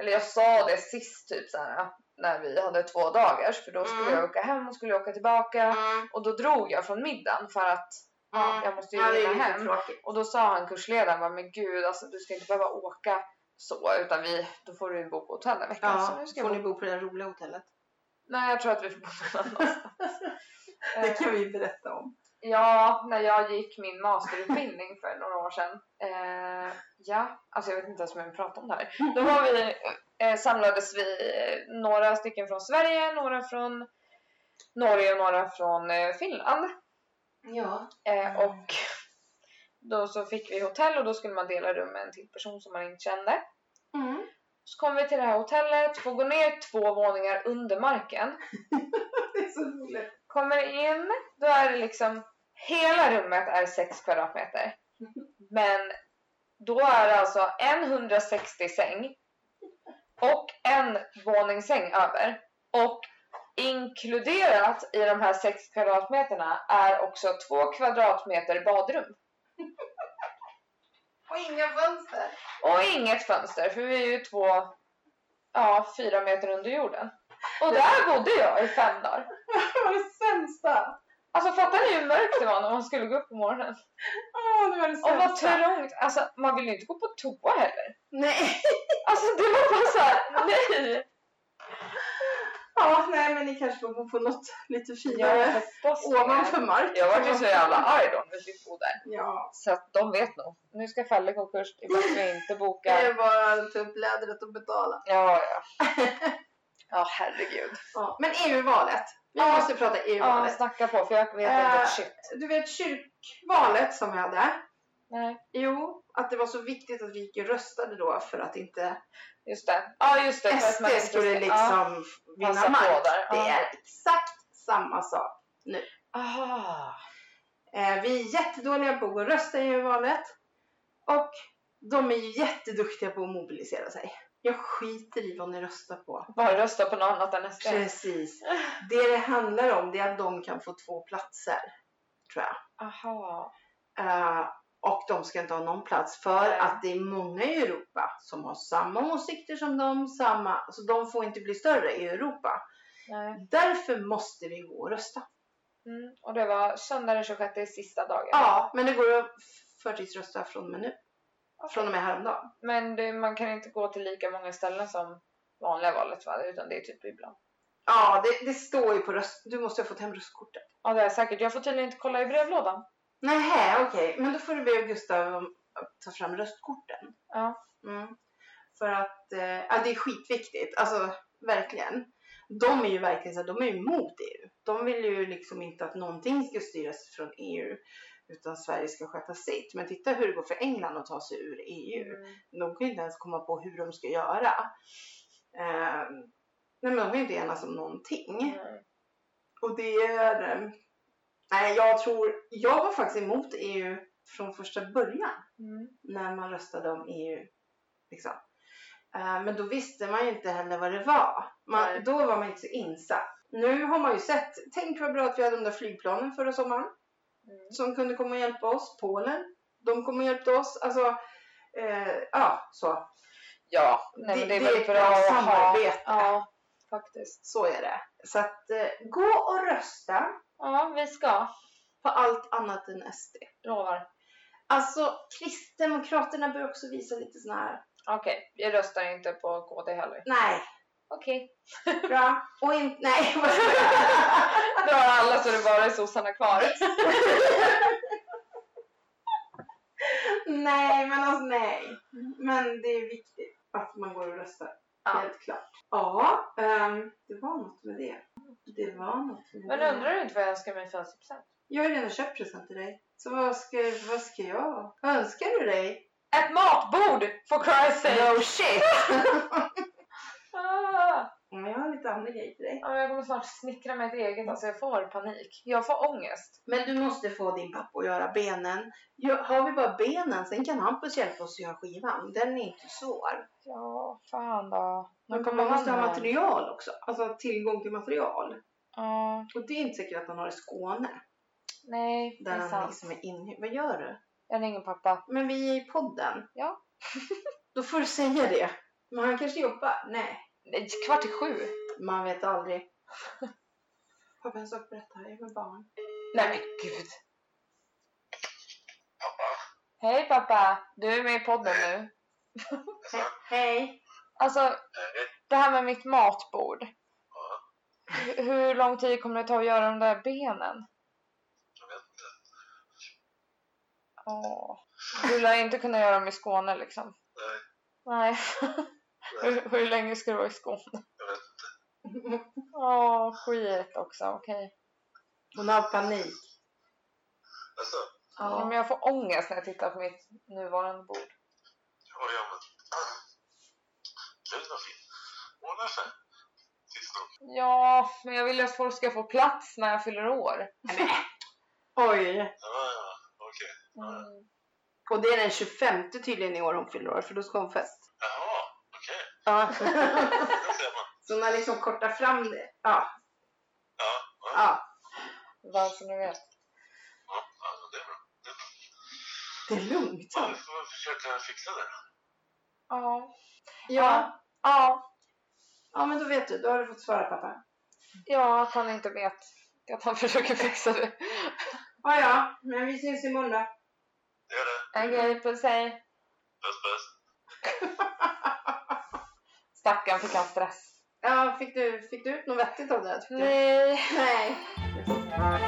S3: Eller jag sa det sist typ så här, när vi hade två dagars för då skulle
S2: Mm.
S3: jag åka hem och skulle jag åka tillbaka
S2: Mm.
S3: och då drog jag från middagen för att ja, jag måste ju
S2: Ja, det är
S3: hinna
S2: lite
S3: hem.
S2: tråkigt.
S3: Och då sa han kursledaren bara, men gud alltså du ska inte behöva åka så utan vi, då får du ju bo på hotell en vecka. så
S2: Ja,
S3: nu ska jag
S2: Alltså, får
S3: bo...
S2: ni bo på det där roliga hotellet?
S3: Nej jag tror att vi får bo någon annanstans. Eh,
S2: vi berätta om.
S3: Ja, när jag gick min masterutbildning för några år sedan. Eh, ja, alltså jag vet inte ens om jag vill prata om det här. Då var vi, eh, samlades vi eh, några stycken från Sverige, några från Norge och några från eh, Finland.
S2: Ja.
S3: Eh, och då så fick vi hotell och då skulle man dela rum med en till person som man inte kände.
S2: Mm.
S3: Så kom vi till det här hotellet, får gå ner två våningar under marken.
S2: Det är så roligt.
S3: Kommer in, då är det liksom hela rummet är 6 kvadratmeter. Men då är det alltså en 160 säng och en våningssäng över. Och inkluderat i de här 6 kvadratmeterna är också 2 kvadratmeter badrum.
S2: Och inga fönster.
S3: Och inget fönster för vi är ju två, ja fyra meter under jorden. Och där bodde jag i fem dagar.
S2: Det var det sämsta.
S3: Alltså fattar ni hur mörkt det var när man skulle gå upp på morgonen?
S2: Åh, det var det sämsta.
S3: Och vad trångt! Alltså man ville ju inte gå på toa heller.
S2: Nej.
S3: Alltså det var bara såhär, nej!
S2: Ja, nej, men ni kanske får bo på något lite
S3: Jag
S2: finare.
S3: hoppas
S2: Ovanför marken.
S3: Jag vart ju så jävla arg då när vi bodde där.
S2: Ja.
S3: Så att de vet nog. Nu ska Felle gå kurs ifall vi inte
S2: Det är
S3: bokar.
S2: bara att ta upp lädret och betala.
S3: Ja, ja. Ja, herregud.
S2: Ja. Men EU-valet. Vi
S3: Ja.
S2: måste prata
S3: Ja,
S2: EU-valet.
S3: snacka på för jag vet inte
S2: Eh.
S3: ett shit.
S2: Du vet kyrkvalet som vi hade?
S3: Nej,
S2: Jo, att det var så viktigt att vi gick och röstade då för att inte
S3: just det. Ja, just det. för att man
S2: SD
S3: inte
S2: skulle
S3: ska-
S2: liksom vinna
S3: Passa på
S2: makt.
S3: där, ja.
S2: Det är exakt samma sak.
S3: Ja. Ah.
S2: Eh, Vi är jättedåliga på att gå och rösta i EU-valet. Och de är ju jätteduktiga på att mobilisera sig. Jag skiter i vad ni röstar på.
S3: Bara rösta på något annat än SD.
S2: Precis. Det det handlar om det är att de kan få två platser. Tror jag.
S3: Aha.
S2: Eh, och de ska inte ha någon plats för
S3: Nej.
S2: att det är många i Europa som har samma åsikter som dem, samma, så de får inte bli större i Europa.
S3: Nej.
S2: Därför måste vi gå och rösta.
S3: Mm. Och det var söndag den 26 i sista dagen.
S2: Ja, men det går att förtidsrösta från och med nu.
S3: Okej.
S2: Från och med häromdagen.
S3: Men det, man kan inte gå till lika många ställen som vanliga valet va? Utan det är typ ibland.
S2: Ja, det, det står ju på röst... Du måste ha fått hem röstkortet.
S3: Ja, det är säkert. Jag får tydligen inte kolla i brevlådan.
S2: Nej, okej. Men då får du be Gustav om att ta fram röstkorten.
S3: Ja.
S2: Mm. För att eh, ja, det är skitviktigt. Alltså, verkligen. De är ju verkligen så här, de är ju emot EU. De vill ju liksom inte att någonting ska styras från EU. Utan Sverige ska sköta sitt. Men titta hur det går för England att ta sig ur E EU.
S3: Mm.
S2: De kan ju inte ens komma på hur de ska göra. Eh, nej men de kan ju inte enas om någonting.
S3: Mm.
S2: Och det är... eh, Nej, jag tror... Jag var faktiskt emot EU från första början
S3: Mm.
S2: när man röstade om EU. Liksom. Eh, men då visste man ju inte heller vad det var. Man,
S3: Nej.
S2: då var man inte så insatt. Nu har man ju sett, tänk vad bra att vi hade de där flygplanen förra sommaren
S3: Mm.
S2: som kunde komma och hjälpa oss. Polen, de kom och hjälpte oss. Alltså, eh, ja, så.
S3: Ja, nej, men det, är väl
S2: ett
S3: bra
S2: bra
S3: att ha-
S2: samarbete.
S3: Ja, faktiskt.
S2: Så är det. Så att eh, gå och rösta
S3: Ja, vi ska.
S2: på allt annat än SD.
S3: Lovar.
S2: Alltså, Kristdemokraterna bör också visa lite sån här...
S3: Okej, jag röstar inte på KD heller.
S2: Nej,
S3: Okej.
S2: bra. Och inte... Nej, vad ska jag
S3: Då har alla så det bara är sossarna kvar.
S2: Nej, men alltså nej. Men det är viktigt att man går och röstar.
S3: Ja.
S2: Helt klart. Ja, ehm, det var något med det. Det var något med
S3: Men
S2: det.
S3: undrar du inte vad jag önskar mig i födelsedagspresent?
S2: Jag har ju redan köpt present till dig. Så vad ska, vad ska jag? Vad önskar du dig?
S3: Ett matbord! For Christ's sake!
S2: shit!
S3: Ah.
S2: Ja, jag har lite andra grejer till dig.
S3: Ja, men jag kommer snart snickra mig ett eget, alltså jag får panik. Jag får ångest.
S2: Men du måste få din pappa att göra benen. Ja, Har vi bara benen, sen kan Hampus hjälpa oss att göra skivan. Den är inte svår.
S3: Ja, fan då.
S2: Men man Mm, måste ha material också. Alltså tillgång till material.
S3: Ja,
S2: Och det är inte säkert att han har i Skåne.
S3: nej, det
S2: Där
S3: är
S2: han
S3: sant.
S2: liksom är inhyrd. Vad gör du?
S3: Jag ringer pappa.
S2: Men vi är i podden.
S3: Ja.
S2: Då får du säga det. Men han kanske jobbar. Nej.
S3: Nej, Kvart i sju.
S2: Man vet aldrig. Pappa, jag ska berätta. Jag är med barn.
S3: Nej men gud. Hej pappa! Du är med i podden nu.
S2: Hej.
S3: Alltså,
S5: Eh,
S3: det här med mitt matbord. H- Hur lång tid kommer det ta att göra de där benen?
S5: Jag vet inte.
S3: Åh. Du lär inte kunna göra dem i Skåne liksom.
S5: Nej,
S3: Nej.
S5: nej,
S3: Hur, hur länge ska du vara i Skåne?
S5: jag vet inte.
S3: Åh, skit också. Okej.
S2: Hon har panik.
S5: Alltså,
S3: Ja. Men jag får ångest när jag tittar på mitt nuvarande bord.
S5: ja, ja men... Lugn och fin. Ordnar sig. Tills nog.
S3: Ja, men jag vill ju att folk ska få plats när jag fyller år.
S2: Oj.
S5: Ja, ja, okej.
S3: Mm.
S2: Och det är den 25 tydligen i år hon fyller år, för då ska hon fest.
S5: Jaha, okej.
S2: Ja.
S5: Det ser man.
S2: Så hon har liksom kortat fram det. Ja.
S5: Ja,
S2: ja.
S3: Varför nu vet.
S5: ja, ja, det är bra.
S2: Det är lugnt.
S5: Man får försöka fixa det.
S3: Ja.
S2: Ja,
S3: Ja.
S2: ja men då vet du. Då har du fått svara pappa.
S3: Ja, att han inte vet. Att han försöker fixa det.
S2: Ja, ja, men vi syns imorgon då.
S5: Gör det.
S3: Okej, puss hej.
S5: Puss, puss.
S3: Stackarn fick han stress.
S2: Ja, fick du, fick du ut något vettigt av det? här, tycker du?
S3: Nej.
S2: Nej.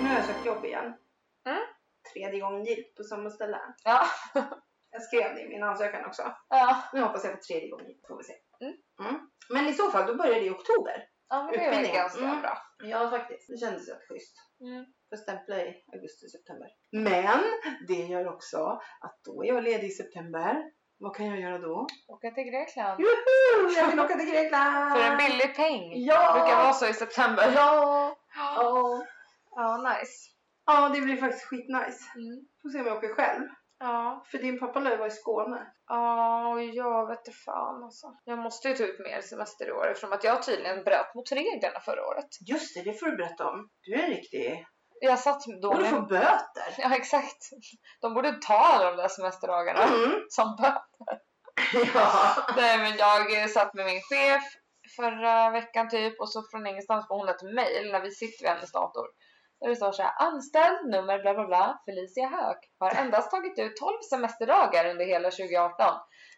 S2: Nu har jag sökt jobb igen.
S3: Mm.
S2: Tredje gången gillt på samma ställe.
S3: Ja.
S2: Jag skrev det i min ansökan också.
S3: Ja.
S2: Nu hoppas jag på tredje gången gillt, får vi se.
S3: Mm.
S2: Mm. Men i så fall, då börjar det i oktober.
S3: Ja, men det är väl
S2: Utbildningen.
S3: ganska
S2: Mm.
S3: bra.
S2: Ja, faktiskt. Det kändes rätt schysst.
S3: Mm.
S2: Får stämpla i augusti, september. Men det gör också att då är jag ledig i september. Vad kan jag göra då?
S3: Åka till Grekland.
S2: Juhu! Jag vill åka till Grekland!
S3: För en billig peng.
S2: Ja!
S3: Brukar vara så i september.
S2: Ja!
S3: Ja,
S2: Ja.
S3: nice.
S2: ja, det blir faktiskt skitnice.
S3: Mm.
S2: Får se om jag åker själv.
S3: Ja.
S2: För din pappa lär ju vara i Skåne.
S3: Ja, jag vet inte fan alltså. Jag måste ju ta ut mer semester i år eftersom att jag tydligen bröt mot reglerna förra året.
S2: Just det, det får du berätta om. Du är en riktig...
S3: Jag satt då
S2: Och du får
S3: med...
S2: böter!
S3: Ja, exakt. De borde ta alla de där semesterdagarna
S2: Mm.
S3: som böter.
S2: Ja.
S3: Nej men jag eh, satt med min chef förra veckan typ och så från ingenstans får hon ett mail när vi sitter vid hennes dator. Där det står såhär anställd nummer bla bla bla Felicia Höök har endast tagit ut 12 semesterdagar under hela 2018.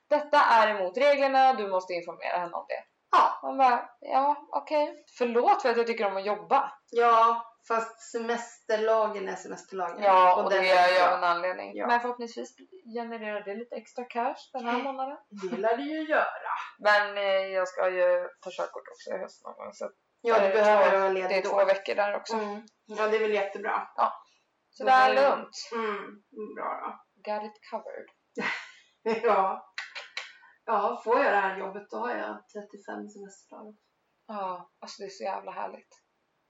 S3: Detta är emot reglerna, du måste informera henne om det.
S2: Ja.
S3: Man bara, ja okej. Förlåt för att jag tycker om att jobba.
S2: ja, fast semesterlagen är semesterlagen.
S3: Ja, och,
S2: den
S3: det
S2: är
S3: gör jag av
S2: bra.
S3: en anledning.
S2: Ja.
S3: Men förhoppningsvis genererar det lite extra cash den här
S2: Okej.
S3: månaden.
S2: Det lär du ju göra.
S3: Men eh, jag ska ju ta körkort också i höst någon gång så
S2: Ja,
S3: Det
S2: du
S3: är
S2: behöver
S3: Eh, två-
S2: vara
S3: Det är
S2: ledig då.
S3: två veckor där också.
S2: Mm. Ja, det är väl jättebra.
S3: Så det är lugnt.
S2: Mm. Bra då.
S3: Got it covered.
S2: Ja. ja, får jag det här jobbet då har jag 35 semesterdagar.
S3: Ja, alltså det är så jävla härligt.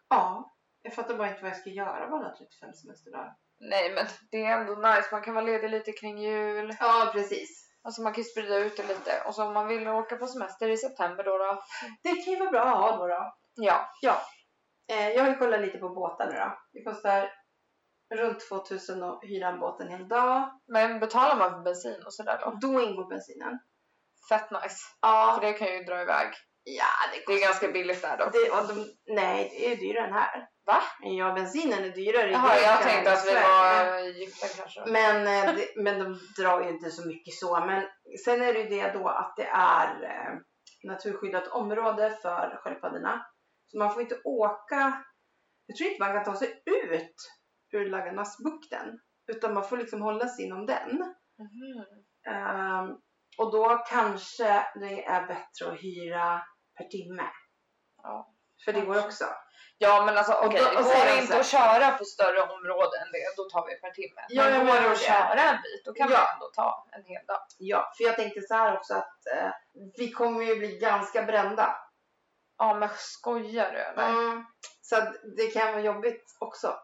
S2: Ja, jag fattar bara inte vad jag ska göra med alla 35 semesterdagar.
S3: Nej men det är ändå nice, man kan vara ledig lite kring jul.
S2: Ja, precis.
S3: Alltså man kan ju sprida ut det lite. Och så om man vill åka på semester i september då då.
S2: Det kan ju vara bra att ha då. då.
S3: Ja.
S2: Eh, jag har ju kollat lite på båtar nu då. Det kostar runt 2000 att hyra en båt en hel dag.
S3: Men betalar man för bensin och sådär då?
S2: Och då ingår bensinen.
S3: Fett nice. För
S2: Ja,
S3: det kan ju dra iväg.
S2: ja det
S3: Det är ganska billigt där då.
S2: Det, och de, nej, det är ju dyrare än här.
S3: Va?
S2: Ja, bensinen är dyrare i
S3: Jaha,
S2: Grekland
S3: jag tänkte
S2: än i
S3: att vi
S2: Sverige.
S3: var eh, gifta kanske.
S2: Men, eh, det, men de drar ju inte så mycket så. Men sen är det ju det då att det är eh, naturskyddat område för sköldpaddorna. Så man får inte åka. Jag tror inte man kan ta sig ut ur Laganasbukten. Utan man får liksom hålla sig inom den.
S3: Mhm.
S2: Ehm, och då kanske det är bättre att hyra per timme.
S3: Ja.
S2: För det går också.
S3: Ja men alltså okej,
S2: då-
S3: det
S2: och
S3: går
S2: säger de
S3: inte
S2: så här-
S3: att köra på större områden än det, då tar vi per timme.
S2: Ja,
S3: men
S2: jag
S3: går det
S2: menar
S3: att
S2: det.
S3: köra en bit, då kan
S2: Ja.
S3: vi ändå ta en hel dag.
S2: Ja, för jag tänkte så här också att eh, vi kommer ju bli ganska brända.
S3: Ja men skojar du eller?
S2: Mm. Så att det kan vara jobbigt också.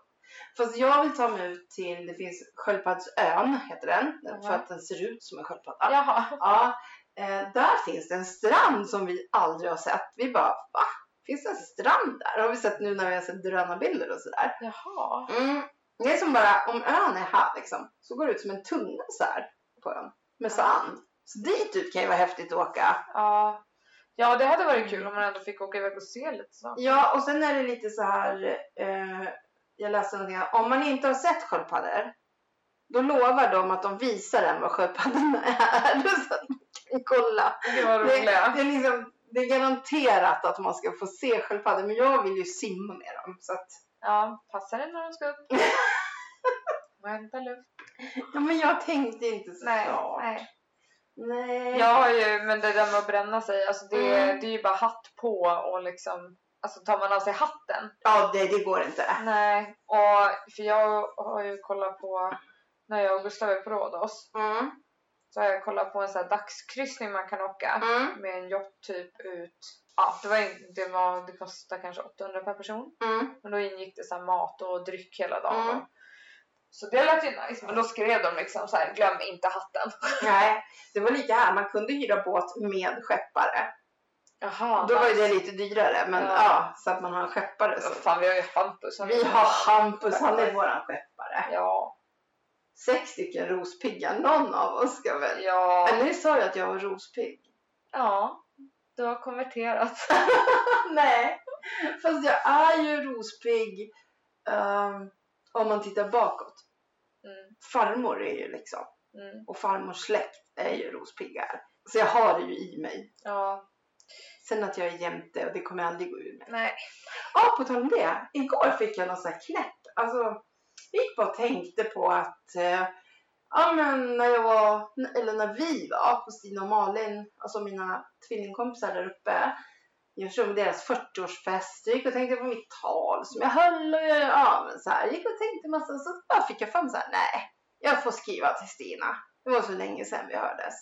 S2: Fast jag vill ta mig ut till, det finns Sköldpaddsön heter den,
S3: Mhm.
S2: för att den ser ut som en sköldpadda.
S3: Jaha.
S2: Ja, eh, där finns det en strand som vi aldrig har sett. Vi bara, va? Finns det en strand där? Har vi sett nu när vi har sett drönarbilder och sådär.
S3: Jaha.
S2: Mm. Det är som bara, om ön är här liksom, så går det ut som en tunga så här på ön. Med sand. Så dit ut kan ju vara häftigt att åka.
S3: Ja. ja det hade varit kul om man ändå fick åka iväg och se lite så.
S2: Ja, och sen är det lite så här. Eh, jag läste någonting här. Om man inte har sett sköldpaddor, då lovar de att de visar en vad sköldpaddorna är. Så att man kan kolla.
S3: Det var
S2: Det,
S3: roligt.
S2: det, är liksom, det är garanterat att man ska få se sköldpaddor, men jag vill ju simma med dem. Så att,
S3: Ja, passar det när de ska upp? Vänta luft.
S2: ja, men jag tänkte inte så
S3: Nej,
S2: klart.
S3: nej.
S2: Nej.
S3: Jag har ju, men det där med att bränna sig, alltså det,
S2: Mm.
S3: det är ju bara hatt på och liksom, alltså tar man av sig hatten
S2: Ja, det, det går inte.
S3: Nej, och för jag har ju kollat på, när jag och Gustav är på Rhodos,
S2: Mm.
S3: så har jag kollat på en sån här dagskryssning man kan åka
S2: Mm.
S3: med en yacht typ ut. Ja, det, var, in- det, var, det kostade kanske 800 per person,
S2: Mm.
S3: men då ingick det så här mat och dryck hela dagen.
S2: Mm.
S3: Så det lät ju nice, men då skrev de liksom så här: glöm inte hatten.
S2: Nej, det var lika här. Man kunde hyra båt med skeppare.
S3: Jaha.
S2: Då var ju det lite dyrare, men
S3: Ja.
S2: ja, så att man har en skeppare. Så.
S3: Fan, vi har ju Hampus. han-
S2: Vi har Hampus, han är våran skeppare.
S3: Ja.
S2: Sex stycken rospiggar, någon av oss ska väl...
S3: Ja.
S2: Eller ni sa ju att jag var rospigg.
S3: Ja. Du har konverterat.
S2: Nej, fast jag är ju rospigg ehm, om man tittar bakåt.
S3: Mm.
S2: Farmor är ju liksom,
S3: Mm.
S2: och farmors släkt är ju rospiggar. Så jag har det ju i mig.
S3: Ja.
S2: Sen att jag är jämte, och det kommer aldrig gå ur mig.
S3: Nej.
S2: Ja, på tal om det. Igår fick jag någon sån här knäpp. Alltså, jag gick bara och tänkte på att eh, ja, men när jag var, eller när vi var på Stina och Malin, alltså mina tvillingkompisar där uppe. Jag såg deras 40-årsfest, jag gick och tänkte på mitt tal som jag höll och jag, ja, men så här, jag gick och tänkte massa så bara fick jag fram så här, nej, jag får skriva till Stina. Det var så länge sedan vi hördes.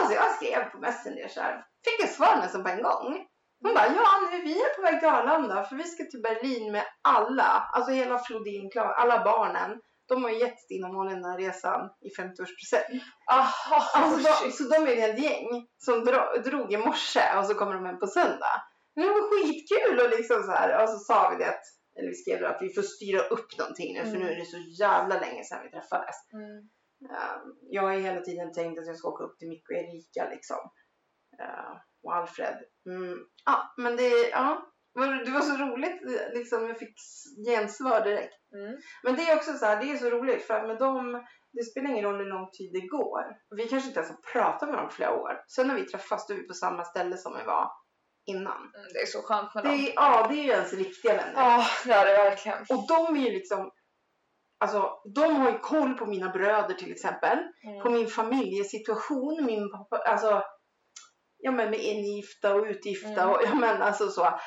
S2: Alltså jag skrev på Messenger så här, fick ett svar nästan på en gång. Hon bara, ja nu, vi är på väg till Arlanda för vi ska till Berlin med alla, alltså hela Flodin, Klara, alla barnen. De har ju gett Stina och Malin den här resan i 50-årspresent.
S3: Aha.
S2: Alltså, de,
S3: Mm. Oh, shit.
S2: så de är ett helt gäng som dro, drog i morse och så kommer de hem på söndag. Men det var skitkul och liksom så här, och så sa vi det att, eller vi skrev det att vi får styra upp någonting nu för
S3: Mm.
S2: nu är det så jävla länge sedan vi träffades.
S3: Mm.
S2: Eh, Jag har ju hela tiden tänkt att jag ska åka upp till Micke och Erika liksom. Eh, Och Alfred. Mm. Ja, men det, ja. Men Det var så roligt eh, liksom. Jag fick s- gensvar direkt.
S3: Mm.
S2: Men det är också så här, det är så roligt för att med dem, det spelar ingen roll hur lång tid det går. Vi kanske inte ens har pratat med dem på flera år. Sen när vi träffas då är vi på samma ställe som vi var innan.
S3: Mm, Det är så skönt med
S2: Det
S3: dem.
S2: är, ja, det är ju ens riktiga vänner.
S3: Ja, det är det verkligen.
S2: Och de är ju liksom, alltså de har ju koll på mina bröder till exempel på
S3: Mm.
S2: min familjesituation, min pappa, alltså ja men med ingifta och utgifta
S3: Mm.
S2: och ja men alltså så.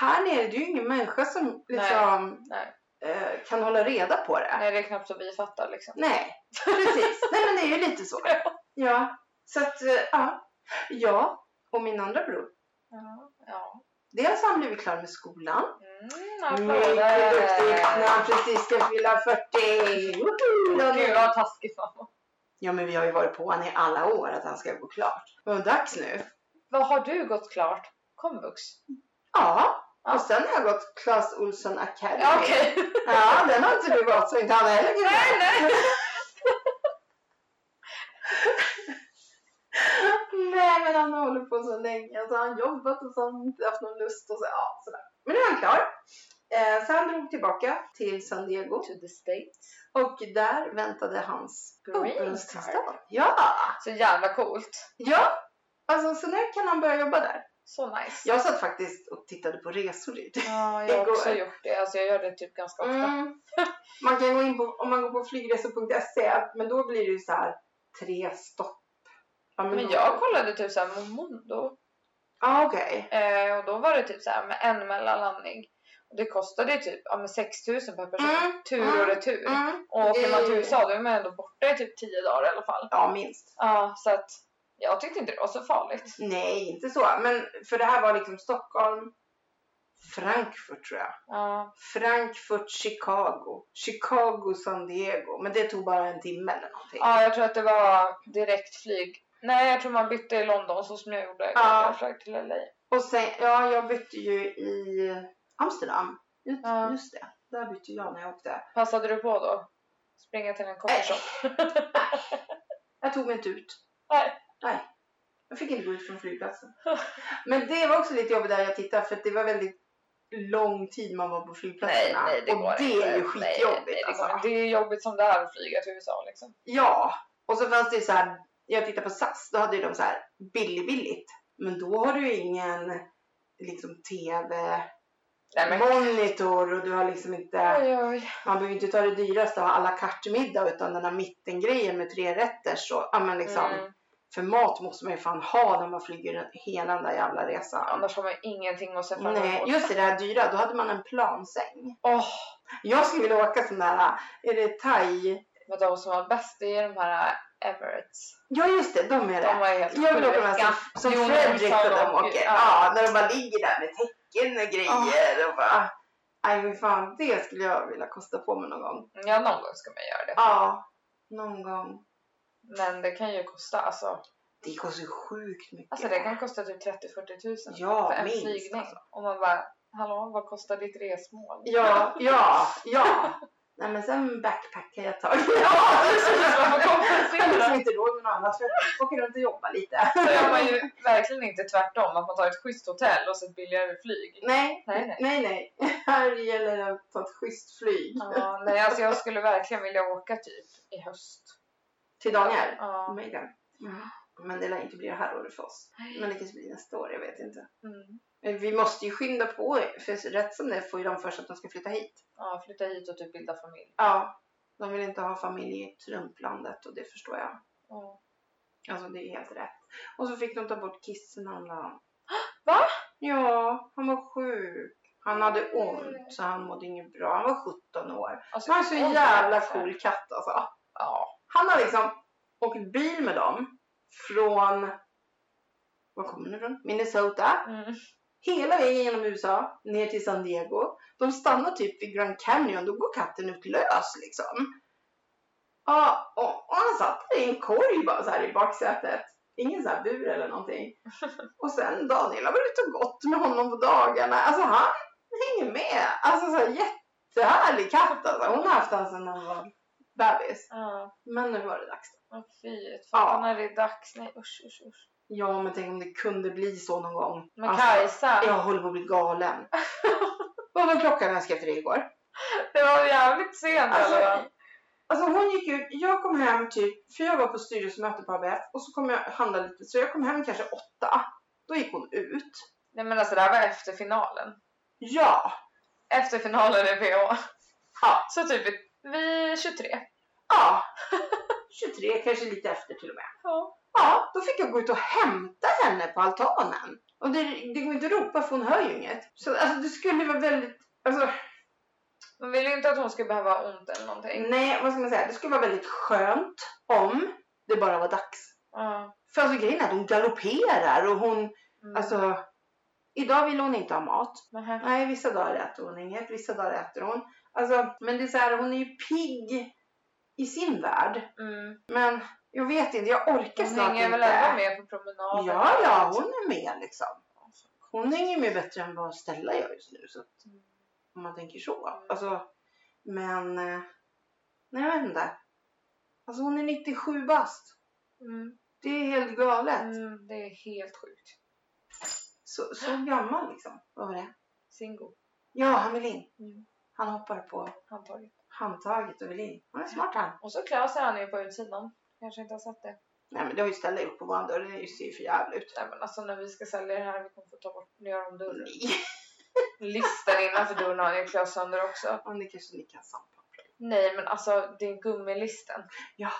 S2: Här nere det är ju ingen människa som liksom
S3: nej.
S2: Eh, kan hålla reda på det. Nej,
S3: Nej, det är knappt så vi fattar liksom.
S2: precis. Nej men det är ju lite så. Ja, så att eh, ja. Ja, och min andra bror.
S3: Ja. ja.
S2: Dels har han blivit klar med skolan.
S3: Mm,
S2: Mycket duktig när han precis ska fylla 40. Woho!
S3: Gud vad taskigt mamma.
S2: Ja men vi har ju varit på honom i alla år att han ska gå klart. Men dags nu.
S3: Vad har du gått klart? Komvux?
S2: Ja, och sen har jag gått Clas Olsson Academy.
S3: Ja, Okej.
S2: Ja, den har inte du gått så inte han heller kan
S3: Nej, nej.
S2: Nej, men han har hållit på så länge. Alltså, han har jobbat och så har han inte haft någon lust och så, ja, sådär. Men nu är han klar. Eh, så han drog tillbaka till San Diego
S3: To the States.
S2: och där väntade hans
S3: Green
S2: uppehållstillstånd.
S3: card.
S2: Ja,
S3: Så jävla coolt.
S2: ja. Alltså, så nu kan han börja jobba där.
S3: Så nice.
S2: Jag satt faktiskt och tittade på resor dit.
S3: Ja, jag har
S2: Igår.
S3: också gjort det. Alltså jag gör det typ ganska ofta.
S2: Mm. Man kan gå in på, om man går på flygresor.se, men då blir det ju så här tre stopp. Ja,
S3: Men
S2: då-
S3: jag kollade typ såhär Momondo
S2: Ja, okej.
S3: eh, och då var det typ såhär med en mellanlandning. Och det kostade ju typ ja, men 6 000 per person.
S2: Mm,
S3: Tur
S2: mm,
S3: och retur.
S2: Mm.
S3: Och åker man till
S2: Det-
S3: USA då är man ändå borta i typ 10 dagar i alla fall.
S2: Ja, minst.
S3: Ja, så att jag tyckte inte det var så farligt.
S2: Nej, inte så. Men för det här var liksom Stockholm, Frankfurt tror jag.
S3: Ja,
S2: Frankfurt, Chicago. Chicago, San Diego. Men det tog bara en timme eller någonting.
S3: ja jag tror att det var direktflyg. Nej, jag tror man bytte i London så som jag gjorde.
S2: Ja.
S3: Jag flög till LA.
S2: Och sen, ja, jag bytte ju i Amsterdam. Just,
S3: Ja.
S2: just det, där bytte jag när jag åkte.
S3: Passade du på då? Springa till en
S2: Nej.
S3: coffeeshop?
S2: Jag tog mig inte ut.
S3: Nej.
S2: Nej. Jag fick inte gå ut från flygplatsen. Men det var också lite jobbigt där jag tittade för att det var väldigt lång tid man var på flygplatserna. Och det är ju
S3: Nej,
S2: skitjobbigt
S3: nej, det,
S2: alltså.
S3: går inte. det är jobbigt som det är att flyga till USA liksom.
S2: Ja, och så fanns det ju så här. Jag tittade på SAS, då hade ju de så här billig, billigt. Men då har du ju ingen liksom TV,
S3: Nej, men,
S2: monitor och du har liksom inte,
S3: oj, oj.
S2: man behöver ju inte ta det dyraste och ha alla kartmiddag utan den här mittengrejen med tre rätter så, ja men liksom.
S3: Mm.
S2: För mat måste man ju fan ha när man flyger hela den där jävla resan.
S3: Annars har man ingenting att se fram
S2: Nej,
S3: emot.
S2: just det, det här dyra, då hade man en plansäng.
S3: Åh,
S2: Jag skulle vilja åka sån där, är det thai?
S3: men de som var bäst det är de här äh, Emirates.
S2: Ja just det, de är
S3: De
S2: det.
S3: var ju helt
S2: Jag vill åka med
S3: sjuka.
S2: som, som
S3: Jo,
S2: Fredrik
S3: sa
S2: och de
S3: de.
S2: åker. Ja, när de bara ligger där med tecken och grejer och bara... Nej men fan, det skulle jag vilja kosta på mig någon gång.
S3: Ja, någon gång ska man göra det.
S2: Ja, någon gång.
S3: Men det kan ju kosta alltså.
S2: Det kostar ju sjukt mycket.
S3: Alltså det kan kosta typ 30-40 tusen
S2: Ja,
S3: för en
S2: minst,
S3: flygning.
S2: alltså.
S3: Och man bara, hallå vad kostar ditt resmål?
S2: Ja, ja, ja. Nej men sen backpackar jag ett tag.
S3: Ja, precis, man får
S2: Jag har liksom
S3: kompensera.
S2: inte råd med något annat för jag åker runt och jobbar lite.
S3: Så gör man ju verkligen inte tvärtom, att man tar ett schysst hotell och så ett billigare flyg.
S2: Nej,
S3: Nej, nej.
S2: nej, nej. Här gäller det att ta ett schysst flyg.
S3: Ja, nej, alltså jag skulle verkligen vilja åka typ i höst.
S2: Till Daniel.
S3: Ja. Mm.
S2: Megan. Men det lär inte bli det här året för oss. Men det kanske blir nästa år, jag vet inte.
S3: Mm.
S2: Men vi måste ju skynda på för rätt som det är får ju de för sig att de ska flytta hit.
S3: Ja, flytta hit och typ bilda familj.
S2: Ja, de vill inte ha familj i Trumplandet och det förstår jag.
S3: Ja.
S2: Alltså det är helt rätt. Och så fick de ta bort kissen häromdagen.
S3: Va?
S2: Ja, han var sjuk. Han hade ont så han mådde inget bra. Han var 17 år.
S3: Alltså,
S2: Han är så
S3: åh,
S2: jävla
S3: så här.
S2: cool katt alltså.
S3: Ja.
S2: Han har liksom åkt bil med dem från, var kommer den ifrån? Minnesota.
S3: Mm.
S2: Hela vägen genom USA ner till San Diego. De stannar typ vid Grand Canyon, då går katten ut lös liksom. Ja, och, och han satt där i en korg bara så här i baksätet. Ingen så här bur eller någonting. Och sen Daniel har varit ute och gått med honom på dagarna. Alltså han hänger med. Alltså så här jättehärlig katt alltså. Hon har haft honom sedan han var bebis.
S3: Ja.
S2: Men nu var det dags.
S3: Men fy,
S2: Ja.
S3: fan när det är dags. Nej usch usch usch.
S2: Ja, men tänk om det kunde bli så någon gång.
S3: Men
S2: Alltså,
S3: Kajsa,
S2: Jag håller på att bli galen. Vad var klockan när jag skrev till dig igår?
S3: det var jävligt sent
S2: Alltså,
S3: alltså,
S2: Alltså hon gick ut, jag kom hem typ, för jag var på styrelsemöte på ABF och så kom jag handla lite, så jag kom hem kanske åtta. Då gick hon ut.
S3: Nej men alltså det här var efter finalen.
S2: Ja,
S3: Efter finalen i PH.
S2: Ja.
S3: Så typ vi 23.
S2: ja. 23, kanske lite efter till och med.
S3: Ja.
S2: Ja, då fick jag gå ut och hämta henne på altanen. Och det, det går inte att ropa för hon hör ju inget. Så alltså det skulle vara väldigt, alltså
S3: Man vill ju inte att hon ska behöva ha ont eller någonting.
S2: Nej, vad ska man säga? Det skulle vara väldigt skönt om det bara var dags.
S3: Ja.
S2: För alltså grejen är att hon galopperar och hon,
S3: Mm.
S2: alltså. Idag vill hon inte ha mat.
S3: Nähä.
S2: Nej, vissa dagar äter hon inget, vissa dagar äter hon. Alltså, men det är så här, hon är ju pigg i sin värld.
S3: Mm.
S2: Men jag vet inte, jag orkar
S3: Hon
S2: snart
S3: hänger
S2: inte.
S3: väl ändå med på promenaden?
S2: Ja, ja, hon är med liksom. Hon hänger med bättre än vad Stella gör just nu. Så att,
S3: Mm.
S2: om man tänker så. Alltså, men... eh, Nej, jag vet inte. Alltså hon är 97 bast.
S3: Mm.
S2: Det är helt galet.
S3: Mm. Det är helt sjukt.
S2: Så, så gammal liksom. Vad var det?
S3: Singo.
S2: Ja, han vill in.
S3: Mm.
S2: Han hoppar på
S3: Handtaget.
S2: handtaget och vill in. Han är smart han.
S3: Och så klöser han ju på utsidan. Kanske inte har sett det.
S2: Nej men det har ju Stella gjort på våran dörr. Det ser ju för jävligt ut. Alltså,
S3: Nej men alltså när vi ska sälja det här vi kommer få ta bort, göra om dörren.
S2: Nej.
S3: Listen innanför dörren har han ju klöst sönder också.
S2: Ja, det kanske ni kan sampa.
S3: Nej men alltså det är gummilisten.
S2: Jaha.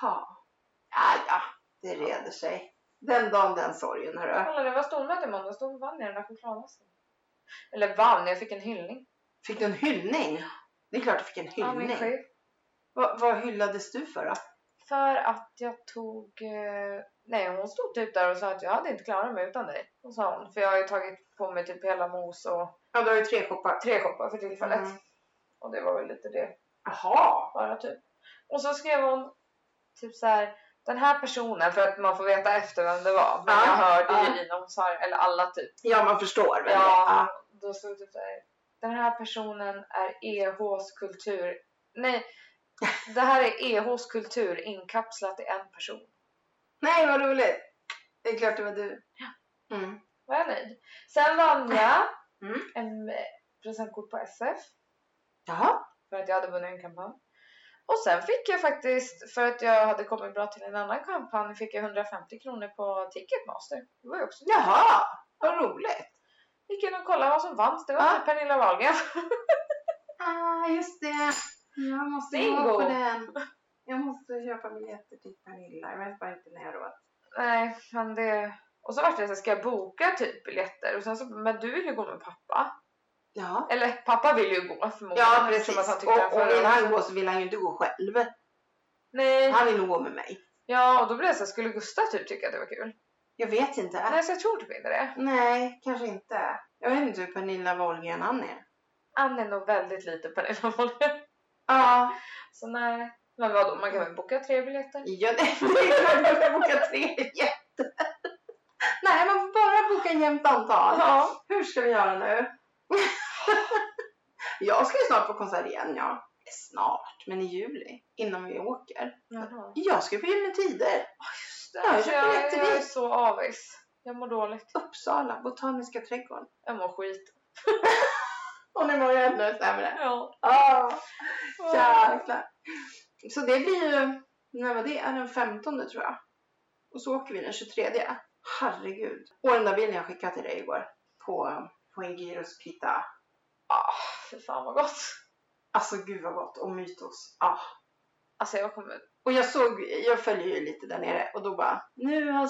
S2: Ja, ja. Det reder sig. Den dagen den sorgen hörru.
S3: Kolla det var stormöte i måndags, då vann jag den där chokladmasken. Eller vann, jag fick en hyllning.
S2: Fick du en hyllning? Det är klart du fick en
S3: av min
S2: hyllning.
S3: chef.
S2: Vad, vad hyllades du för då?
S3: För att jag tog... eh, Nej hon stod typ där och sa att jag hade inte klarat mig utan dig. Och sa hon. För jag har ju tagit på mig typ hela mos och
S2: Ja, du har ju tre koppar.
S3: tre koppar för tillfället.
S2: Mm.
S3: Och det var väl lite det
S2: Jaha!
S3: bara typ. Och så skrev hon typ så här. Den här personen, för att man får veta efter vem det var. Men
S2: Ja,
S3: jag hörde
S2: ja.
S3: ju i när hon sa det, eller alla typ.
S2: Ja, man förstår. väl.
S3: Ja, då stod det där. Den här personen är EHs kultur. Nej, det här är EHs kultur inkapslat i en person.
S2: Nej, vad roligt! Det är klart det var du. Ja. Mm.
S3: Var jag nöjd? Sen vann jag
S2: Mm.
S3: en eh, presentkort på SF
S2: Jaha.
S3: för att jag hade vunnit en kampanj. Och sen fick jag faktiskt, för att jag hade kommit bra till en annan kampanj, fick jag 150 kronor på Ticketmaster. Det var ju också
S2: Jaha! Vad roligt!
S3: Gick in och kollade vad som vanns. Det var
S2: Ja.
S3: typ Pernilla Wahlgren.
S2: Ah, just det! Jag måste
S3: Bingo.
S2: gå på den. Jag måste köpa biljetter till Pernilla. Jag vet bara inte när jag har råd.
S3: Nej, men det... Och så vart det så här, ska jag boka typ biljetter? Och sen så, men du vill ju gå med pappa.
S2: Ja.
S3: Eller pappa vill ju gå förmodligen.
S2: Ja,
S3: eftersom
S2: precis.
S3: Att han tyckte han
S2: Och, och vill
S3: förra
S2: han
S3: året.
S2: gå så vill han ju inte gå själv.
S3: Nej.
S2: Han vill nog gå med mig.
S3: Ja, och då blev jag så här, skulle Gustav typ tycka att det var kul?
S2: Jag vet inte.
S3: Nej, så jag tror typ inte det.
S2: Nej, kanske inte. Jag vet inte hur Pernilla Wahlgren han är.
S3: Han är nog väldigt lite Pernilla Wahlgren.
S2: Ja,
S3: Så nej. Men vadå, man kan väl boka tre biljetter?
S2: Ja, det det är klart jag ska boka tre biljetter. ganska jämnt antal.
S3: Ja.
S2: Hur ska vi göra nu? jag ska ju snart på konsert igen, ja. Snart, men i juli. Innan vi åker.
S3: Jaha.
S2: Jag ska på Gyllene Tider.
S3: Ja,
S2: jag
S3: jag,
S2: köpte
S3: jag,
S2: biljetter
S3: jag är
S2: dit.
S3: så avis. Jag mår dåligt.
S2: Uppsala, Botaniska trädgården.
S3: Jag mår skit.
S2: Och nu mår jag ännu sämre.
S3: Ja.
S2: Ah, jäklar. Så det blir ju, när var det? Är Den 15 tror jag. Och så åker vi den 23. Herregud. Och den där bilden jag skickade till dig igår. På, på en gyros pita.
S3: Ah, fy fan vad gott.
S2: Alltså gud vad gott. Och mytos. Ah.
S3: Alltså jag kommer...
S2: Och jag såg, jag följer ju lite där nere och då bara, nu har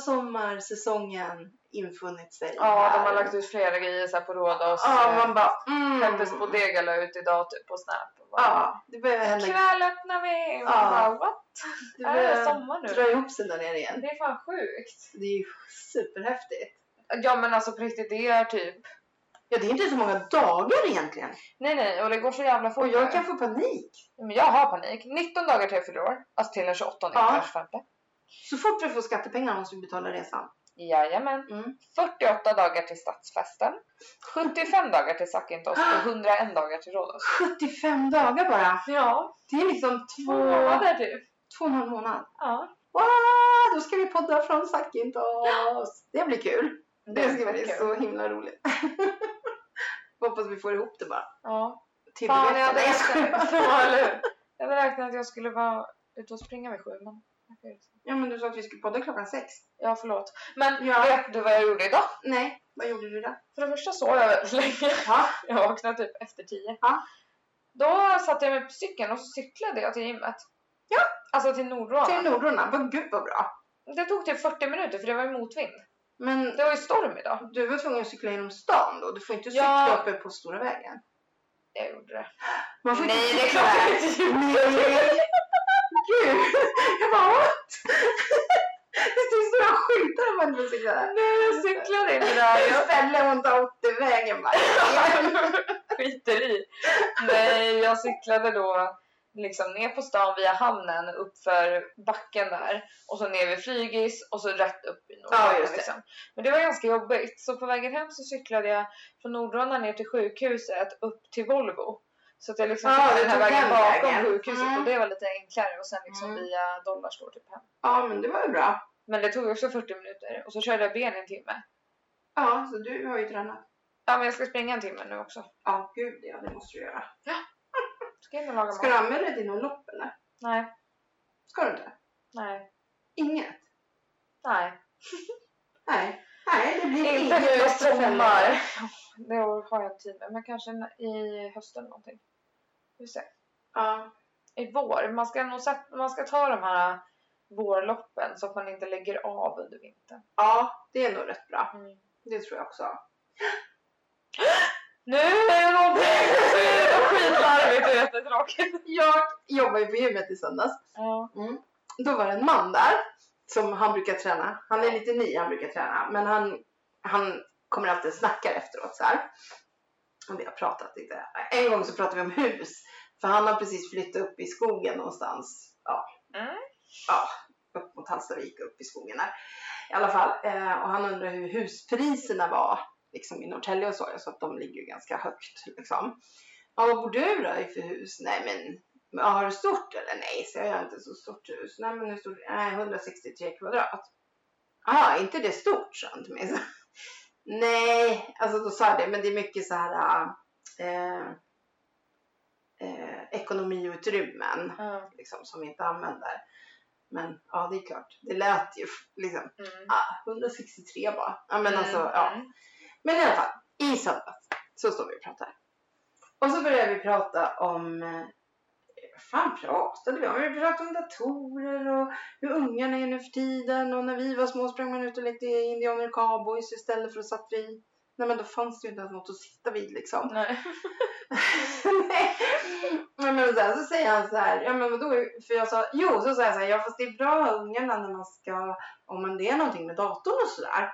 S2: sommarsäsongen infunnit sig.
S3: Ja,
S2: här."
S3: de har lagt ut flera grejer så här på Rhodos.
S2: Ja,
S3: eh,
S2: man bara, mm.
S3: Peppes Bodega la ut idag typ på Snap. Och bara,
S2: Ja, det börjar hända.
S3: Kväll öppnar vi! Och
S2: Ja.
S3: bara, What?
S2: Det
S3: Är det
S2: börjar
S3: sommar nu?
S2: dra ihop sig där nere igen.
S3: Det är fan sjukt.
S2: Det är ju superhäftigt.
S3: Ja men alltså på riktigt, det är typ...
S2: Ja, det är inte så många dagar egentligen.
S3: Nej nej, och det går så jävla fort.
S2: Och jag
S3: nu.
S2: kan få panik.
S3: Men jag har panik. 19 dagar till jag fyller år. Alltså till den 28
S2: Ja.
S3: ja. 25.
S2: Så fort vi får skattepengar måste vi betala resan.
S3: Jajamän.
S2: Mm.
S3: 48 dagar till stadsfesten. 75 dagar till Sakintos och 101 dagar till Rhodos.
S2: 75 dagar bara.
S3: Ja,
S2: Det är liksom två,
S3: typ.
S2: två och en halv månad.
S3: Ja.
S2: Wow, då ska vi podda från Sakintos. Det blir kul. Det ska bli
S3: kul.
S2: så himla roligt. Hoppas vi får ihop det bara.
S3: Ja.
S2: Till
S3: Fan, jag hade
S2: biljetterna.
S3: räknat.
S2: Ja, eller hur?
S3: Jag hade räknat att jag skulle vara ute och springa vid sju men...
S2: Ja, men du sa att vi skulle podda klockan sex.
S3: Ja, förlåt. Men
S2: Ja.
S3: vet du vad jag gjorde idag?
S2: Nej, vad gjorde du då?
S3: För det första sov jag väldigt länge.
S2: Ja.
S3: Jag vaknade typ efter tio.
S2: Ja.
S3: Då satte jag mig på cykeln och så cyklade jag till gymmet. Ja. Alltså till Nordrana.
S2: Till Nordorna. Vad gud vad bra.
S3: Det tog typ 40 minuter för det var ju motvind.
S2: Men
S3: Det var ju storm idag.
S2: du var tvungen att cykla genom stan då. Du får inte cykla
S3: Ja.
S2: uppe på stora vägen.
S3: Jag gjorde det.
S2: Man får
S3: Nej,
S2: inte
S3: det är
S2: cykla
S3: klart
S2: där.
S3: jag inte
S2: Nej. Gud. Jag bara what? Det står stora skyltar om man inte får cykla där.
S3: Nej, jag cyklade inte där. Jag
S2: Ställe hon tar 80-vägen bara.
S3: skiter i. Nej, jag cyklade då liksom ner på stan via hamnen, upp för backen där och så ner vid Flygis och så rätt upp i Nordröna.
S2: Ja, just det.
S3: liksom. Men det var ganska jobbigt. Så på vägen hem så cyklade jag från Nordröna ner till sjukhuset upp till Volvo. Så att jag liksom
S2: Ja,
S3: ah,
S2: du
S3: den här
S2: tog
S3: vägen
S2: den
S3: bakom
S2: vägen.
S3: sjukhuset
S2: Mm.
S3: och det var lite enklare och sen liksom
S2: Mm.
S3: via Dollarstore typ hem.
S2: Ja men det var ju bra.
S3: Men det tog också 40 minuter och så körde jag ben en timme.
S2: Ja, så du har ju tränat.
S3: Ja men jag ska springa en timme nu också.
S2: Ja, gud ja, det måste du göra.
S3: Ska jag in och laga
S2: Ska
S3: mat?
S2: du anmäla dig till någon lopp eller?
S3: Nej,
S2: Ska du inte?
S3: nej,
S2: Inget?
S3: nej.
S2: Nej. Nej, det blir
S3: Inte nu i
S2: Bättre
S3: sommar.
S2: fällor.
S3: Det har jag inte tid med. Men kanske i hösten någonting. Vi får se.
S2: Ja.
S3: I vår. Man ska, nog sätta, man ska ta de här äh, vårloppen så att man inte lägger av under vintern.
S2: ja, det är nog rätt bra.
S3: Mm.
S2: Det tror jag också.
S3: Nu är det någonting som är skitlarvigt och jättetråkigt.
S2: Jag jobbar ju på gymmet i söndags.
S3: Ja.
S2: Då var det en man där som han brukar träna. Han är lite ny, han brukar träna. Men han, han kommer alltid och snackar efteråt så här. Och vi har pratat lite. En gång så pratade vi om hus. För han har precis flyttat upp i skogen någonstans. Ja.
S3: Mm.
S2: Ja, upp mot Hallstavik, upp i skogen där. I alla fall. Eh, och han undrar hur huspriserna var. Liksom i Norrtälje och så. Så att de ligger ju ganska högt liksom. Ja, vad bor du då i för hus? Nej men men har du stort eller? Nej, så jag har inte så stort hus. Nej, men hur stort? Nej, 163 kvadrat. Jaha, inte det stort, sa han till mig. Nej, alltså då sa jag det, men det är mycket så här eh, eh, ekonomiutrymmen
S3: Mm.
S2: liksom, som vi inte använder. Men ja, det är klart, det lät ju f- liksom
S3: Mm.
S2: ah, 163 bara. Ja, men alltså,
S3: Mm.
S2: ja. Men i alla fall, i söndags så står vi och pratar. Och så börjar vi prata om... eh, Vad fan pratade vi om? Vi pratade om datorer och hur ungarna är nu för tiden. Och när vi var små sprang man ut och lekte indianer och cowboys istället för att satt vi... Nej men då fanns det ju inte ens något att sitta vid liksom.
S3: Nej.
S2: Nej. Men, men så, här, så säger han så här, ja men vadå, för jag sa, jo så sa jag så här, ja fast det är bra att ha ungarna när man ska, om man, det är någonting med datorn och sådär.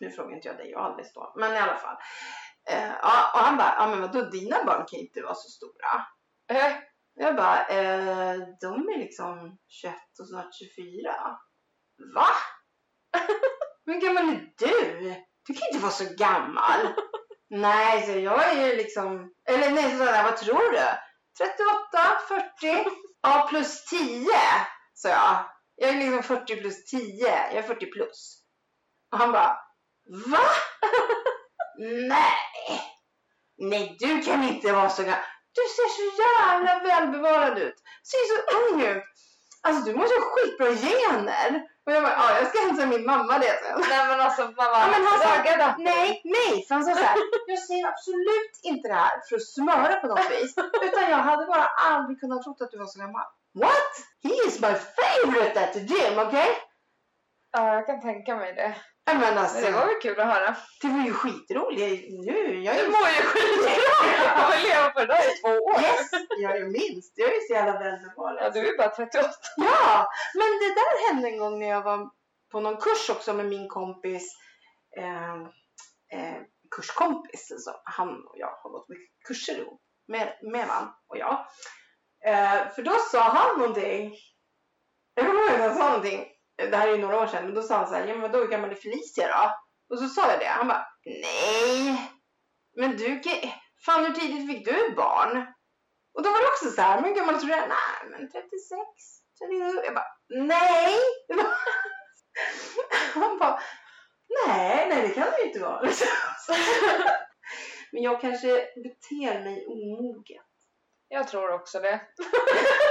S2: Nu frågar inte jag dig och Alice då, men i alla fall. Eh, ja, och han bara, ja men vadå dina barn kan inte vara så stora.
S3: Eh,
S2: Jag bara, eh, de är liksom 21 och snart 24. Va? Men gammal är du? Du kan inte vara så gammal. nej, så jag är ju liksom... Eller nej, så sa jag, vad tror du? 38, 40? ja, plus 10, sa jag. Jag är liksom 40 plus 10. Jag är 40 plus. Och han bara, va? nej. Nej, du kan inte vara så gammal. Du ser så jävla välbevarad ut. Ser så ung ut. Alltså du måste ha skitbra gener. Och jag bara, ja jag ska hälsa min mamma det sen.
S3: Nej men alltså mamma,
S2: Ja, men han sa-
S3: ragga då.
S2: Nej, nej! För han sa såhär, jag ser absolut inte det här för att smöra på något vis. Utan jag hade bara aldrig kunnat tro att du var så gammal. What? He is my favorite at the gym, okej? Okay?
S3: Ja, jag kan tänka mig det.
S2: Men alltså,
S3: Men det var väl kul att höra.
S2: det var ju skitroligt. Nu, jag
S3: Du
S2: är
S3: mår ju skitbra! Du har leva på det där i två år.
S2: Yes, jag är minst. Jag är så jävla välbevarad.
S3: Ja, du är bara 38.
S2: Ja, men det där hände en gång när jag var på någon kurs också med min kompis. Eh, eh, kurskompis. Alltså, han och jag har gått mycket kurser ihop. Med, med man och jag. Eh, för då sa han någonting. Jag kommer ihåg att han sa någonting. Det här är ju några år sedan. Men då sa han så här. Ja men vadå hur gammal är Felicia då? Och så sa jag det. Han bara. Nej. Men du. kan- Fan hur tidigt fick du barn? Och då var det också så här. Men hur gammal tror du jag är?" Nej men 36. 37. Jag bara, nej! Han bara, nej, nej det kan det ju inte vara. Men jag kanske beter mig omoget.
S3: Jag tror också det.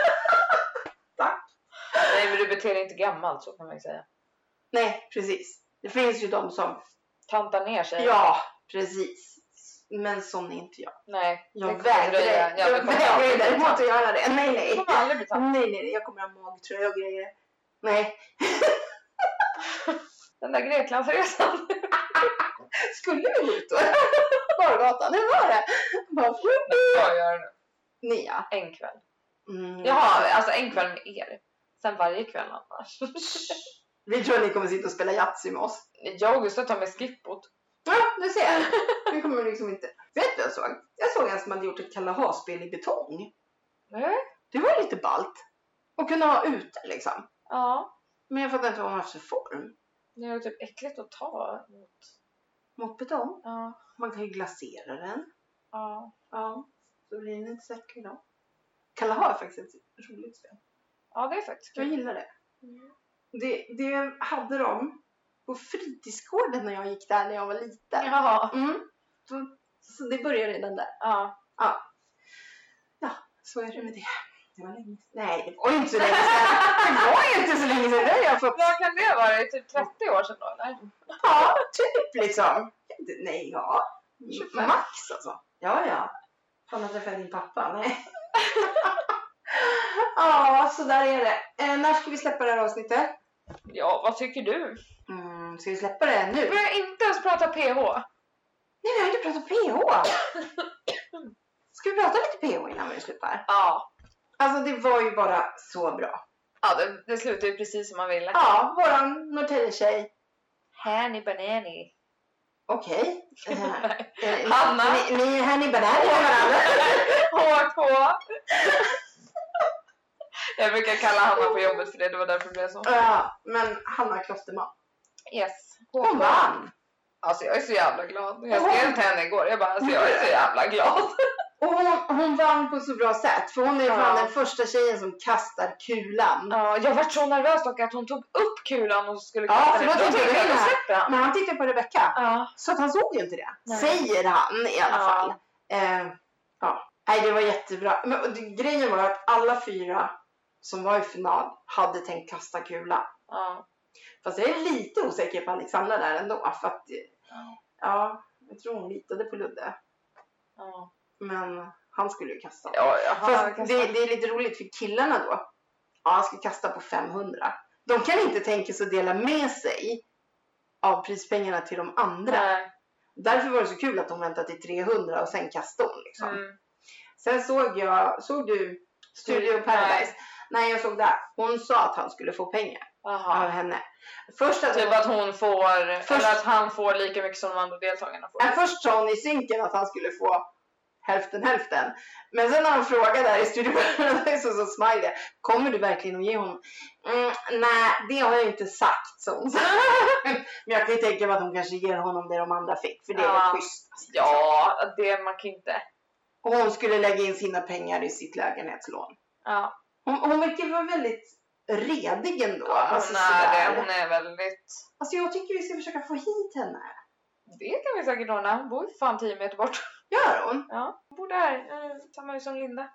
S2: Tack.
S3: Nej men du beter dig inte gammalt så kan man ju säga.
S2: Nej, precis. Det finns ju de som,
S3: Tantar ner sig.
S2: ja, precis. Men sån är inte jag.
S3: Nej. det
S2: Jag
S3: kommer
S2: vägrar
S3: dröja.
S2: jag
S3: Ja, det kommer
S2: vägrar
S3: aldrig
S2: ju
S3: bli
S2: däremot
S3: tant.
S2: att göra det. Nej,
S3: Du
S2: nej.
S3: kommer aldrig bli tant.
S2: Nej, nej, nej, jag kommer ha magtröja och grejer. Nej,
S3: Den där Greklandsresan.
S2: skulle vi gå ut då? Bargatan, hur var det? Bara,
S3: Jag gör den
S2: nia.
S3: en kväll.
S2: Mm.
S3: Jaha, alltså en kväll med er. Sen varje kväll annars.
S2: Vi tror att ni kommer sitta och spela Yatzy med oss.
S3: Jag och Gustav tar med skippot.
S2: Ja, du ser. Vi kommer liksom inte... Vet du vad jag såg? Jag såg en som hade gjort ett Kalahar-spel i betong.
S3: Nej.
S2: Det var lite ballt. Och kunna ha ute liksom.
S3: Ja.
S2: Men jag fattar inte vad man har haft för form.
S3: Det är ju typ äckligt att ta emot.
S2: Mot betong.
S3: Ja.
S2: Man kan ju glasera den.
S3: Ja.
S2: Ja. Så blir den inte så äcklig då. Kalahar är faktiskt ett roligt spel.
S3: Ja, det är faktiskt
S2: Jag
S3: kul.
S2: gillar det. Mm. Det, det hade de på fritidsgården när jag gick där när jag var liten.
S3: Jaha.
S2: Mm. Så, så det började redan där.
S3: Ja.
S2: Så är det med det. Det var länge sedan. Nej, det var ju inte så länge sedan. Det var ju inte så länge sedan. Det har jag fått.
S3: Vad kan det vara? Typ 30 år sedan då eller?
S2: Ja, typ liksom. Nej, ja.
S3: 25.
S2: Max alltså. Ja, ja. Fan, jag träffade din pappa. Nej. Ja, så där är det. Eh, när ska vi släppa det här avsnittet?
S3: Ja, vad tycker du?
S2: Mm, ska vi släppa det nu?
S3: Vi börjar inte ens prata PH.
S2: Nej, vi har inte pratat PH. Ska vi prata lite PH innan vi slutar?
S3: Ja.
S2: Alltså, det var ju bara så bra.
S3: Ja, det, det slutar ju precis som man ville.
S2: Ja, våran Norrtäljetjej.
S3: Hanny Banani.
S2: Okej. Eh, Eh,
S3: Hanna.
S2: Ni, ni är här ni bananer med varandra.
S3: HK. Jag brukar kalla Hanna på jobbet för det, det var därför det blev så.
S2: Ja, men Hanna Klosterman.
S3: Yes.
S2: Hon vann!
S3: Alltså jag är så jävla glad. Jag skrev till henne igår, jag bara alltså jag är så jävla glad.
S2: Och hon, hon vann på så bra sätt. För hon är ju fan
S3: Ja.
S2: den första tjejen som kastar kulan.
S3: Ja, jag vart så nervös dock att hon tog upp kulan och skulle
S2: Ja, för då
S3: Då
S2: tänkte
S3: tänkte
S2: jag,
S3: jag, då
S2: "Nej."
S3: släpper han.
S2: Men han tittade på Rebecca.
S3: Ja.
S2: Så att han såg ju inte det.
S3: Nej.
S2: Säger han i alla
S3: Ja.
S2: fall. Eh, ja. Nej, det var jättebra. Men, och det, grejen var att alla fyra som var i final hade tänkt kasta kula.
S3: ja.
S2: Fast jag är lite osäker på Alexandra där ändå. För att, ja, jag tror hon litade på Ludde.
S3: Ja.
S2: Men han skulle ju kasta.
S3: Ja, jag har
S2: Fast
S3: kastat.
S2: det, det är lite roligt för killarna då. Ja, han ska kasta på 500. De kan inte tänka sig att dela med sig av prispengarna till de andra.
S3: Nej.
S2: Därför var det så kul att de väntade till 300 och sen kastade hon. Liksom.
S3: Mm.
S2: Sen såg jag, såg du Studio Paradise? Nej. jag såg det. Hon sa att han skulle få pengar av
S3: Jaha.
S2: henne. Först, att,
S3: Typ att hon får,
S2: Först-
S3: eller att han får lika mycket som de andra deltagarna får.
S2: äh, först sa hon i synken att han skulle få hälften hälften. Men sen har han frågat där i studiobörjan, så, så smiley, kommer du verkligen att ge honom? Mm, nej, det har jag inte sagt, sa hon. Men jag kan ju tänka mig att hon kanske ger honom det de andra fick, för det är
S3: Ja.
S2: väl schysst.
S3: Ja, det man kan ju inte.
S2: Och hon skulle lägga in sina pengar i sitt lägenhetslån.
S3: Ja,
S2: Hon, hon verkar vara väldigt redig ändå. alltså,
S3: hon är
S2: sådär.
S3: det. Hon är väldigt...
S2: alltså jag tycker vi ska försöka få hit henne.
S3: Det kan vi säkert ordna. Hon bor ju fan 10 meter bort.
S2: Gör hon?
S3: Hon bor där. eh, Samma hus som Linda.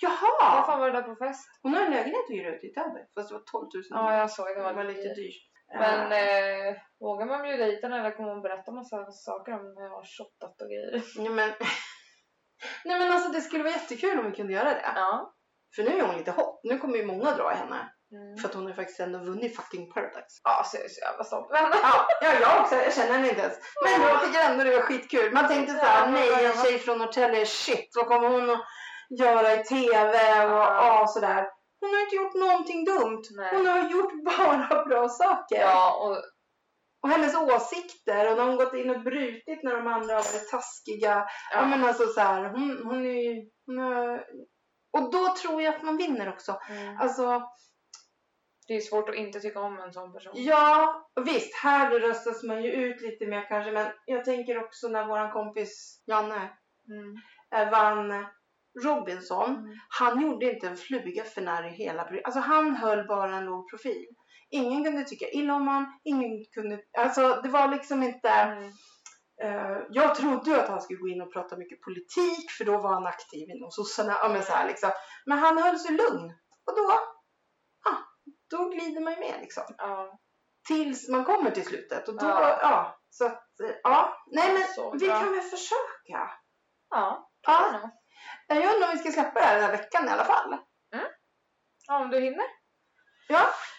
S3: Jag har
S2: Jaha!
S3: fan varit där på fest.
S2: Hon har en lägenhet att hyra ut i Täby. Fast det var 12 000.
S3: Ja, jag såg. Det
S2: det
S3: var
S2: var lite dyrt.
S3: Men
S2: Eh,
S3: eh, vågar man bjuda hit henne eller kommer hon berätta massa saker om när jag har shottat och grejer?
S2: nej, men... nej men alltså det skulle vara jättekul om vi kunde göra det.
S3: Ja.
S2: För nu är hon lite hot. Nu kommer ju många dra i henne.
S3: Mm.
S2: För att hon har ju faktiskt ändå vunnit fucking Paradise.
S3: Ja, så jag är så jävla stolt. Men
S2: Ja, ja, jag också. Jag känner henne inte ens. Men jag tycker ändå det var skitkul. Man tänkte så här, nej en tjej från Norrtälje, shit vad kommer hon att göra i TV och
S3: Ja.
S2: ja, sådär. Hon har inte gjort någonting dumt.
S3: nej.
S2: Hon har gjort bara bra saker.
S3: Ja, och
S2: Och hennes åsikter och när hon gått in och brutit när de andra har varit taskiga. Ja.
S3: ja.
S2: men alltså så här, hon, hon är ju... Hon är... Och då tror jag att man vinner också.
S3: Mm.
S2: Alltså,
S3: det är svårt att inte tycka om en sån person.
S2: Ja, visst, här röstas man ju ut lite mer kanske, men jag tänker också när våran kompis Janne
S3: Mm.
S2: eh, vann Robinson.
S3: Mm.
S2: Han gjorde inte en fluga för när i hela pro- Alltså han höll bara en låg profil. Ingen kunde tycka illa om han, ingen kunde... Alltså det var liksom inte...
S3: Mm.
S2: eh, jag trodde ju att han skulle gå in och prata mycket politik för då var han aktiv inom sossarna. Ja, men, så här, liksom. men han höll sig lugn. Och då, ah, då glider man ju med liksom
S3: Ja,
S2: tills man kommer till slutet. Och då, ja.
S3: Ja.
S2: så att, eh, ja. Nej men
S3: så
S2: vi
S3: bra.
S2: kan väl försöka.
S3: Ja,
S2: Ja.
S3: ja.
S2: Jag undrar om vi ska släppa det här den här veckan i alla fall.
S3: ja, om du hinner.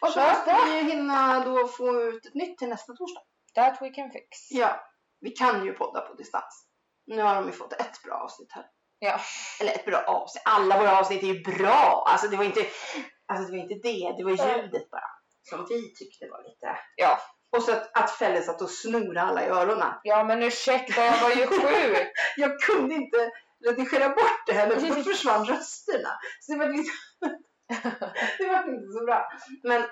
S2: Och så
S3: Kör
S2: måste vi ju hinna då få ut ett nytt till nästa torsdag.
S3: That we can fix.
S2: Ja, vi kan ju podda på distans. Nu har de ju fått ett bra avsnitt här.
S3: Ja.
S2: Eller ett bra avsnitt. Alla våra avsnitt är ju bra. Alltså det var inte, alltså det, var inte det, det var ljudet bara. Som vi tyckte var lite...
S3: Ja.
S2: Och så att, att Felle satt och snorade alla i öronen.
S3: Ja, men ursäkta, jag var ju sjuk.
S2: jag kunde inte redigera bort det heller för då försvann rösterna. Så det var, liksom det var inte så bra. Men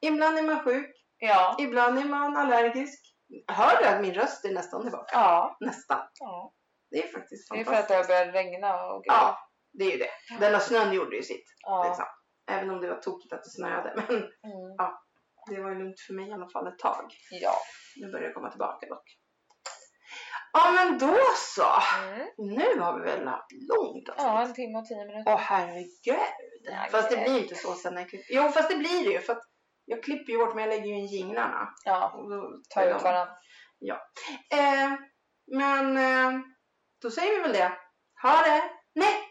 S2: ibland är man sjuk,
S3: Ja.
S2: ibland är man allergisk. Hör du att min röst är nästan tillbaka?
S3: Ja.
S2: Nästan.
S3: ja.
S2: Det är faktiskt
S3: Det är för att
S2: fantastiskt.
S3: det har börjat regna och grejer.
S2: Ja, det är ju det. Den där snön gjorde ju sitt.
S3: Ja.
S2: Liksom. Även om det var tokigt att det snöade. Men
S3: Mm.
S2: det var ju lugnt för mig i alla fall ett tag.
S3: ja.
S2: Nu börjar jag komma tillbaka dock. Ja men då så.
S3: Mm.
S2: Nu har vi väl haft långt avsnitt.
S3: ja, en timme och tio minuter.
S2: Åh herregud!
S3: Nej,
S2: Fast det
S3: nej.
S2: blir ju inte så sen när jag klipper. Jo fast det blir det ju för att jag klipper ju bort men jag lägger ju in jinglarna.
S3: Ja,
S2: Och då
S3: ta ut varandra.
S2: Eh, men eh, då säger vi väl det. Ha det! Nej!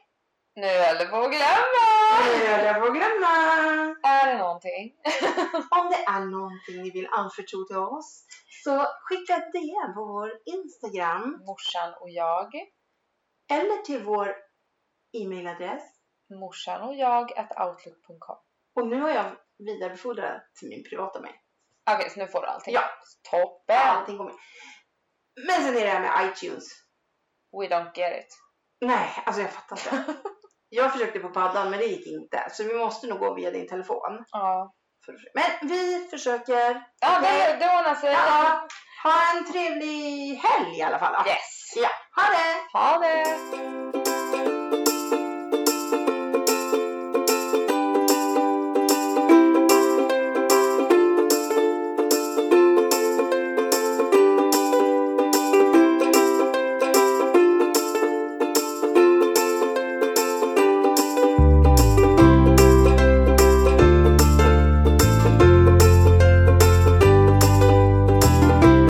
S3: Nu höll du på att glömma!
S2: Nu höll jag på att glömma!
S3: Är det någonting?
S2: Om det är någonting ni vill anförtro till oss så skicka ett DM på vår Instagram
S3: Morsan och jag.
S2: eller till vår e-mailadress.
S3: Morsan och jag at outlook.com.
S2: Och nu har jag vidarebefordrat den till min privata mail.
S3: Okej, så nu får du allting.
S2: Ja.
S3: Toppen!
S2: Allting går med. Men sen är det här med iTunes.
S3: We don't get it.
S2: Nej, alltså jag fattar inte. Jag försökte på paddan men det gick inte. Så vi måste nog gå via din telefon.
S3: Ja.
S2: För att försöka- Men vi försöker.
S3: Ja, det, det ordnar sig.
S2: Ja, ha en trevlig helg i alla fall.
S3: Yes!
S2: Ja, ha det!
S3: Ha det!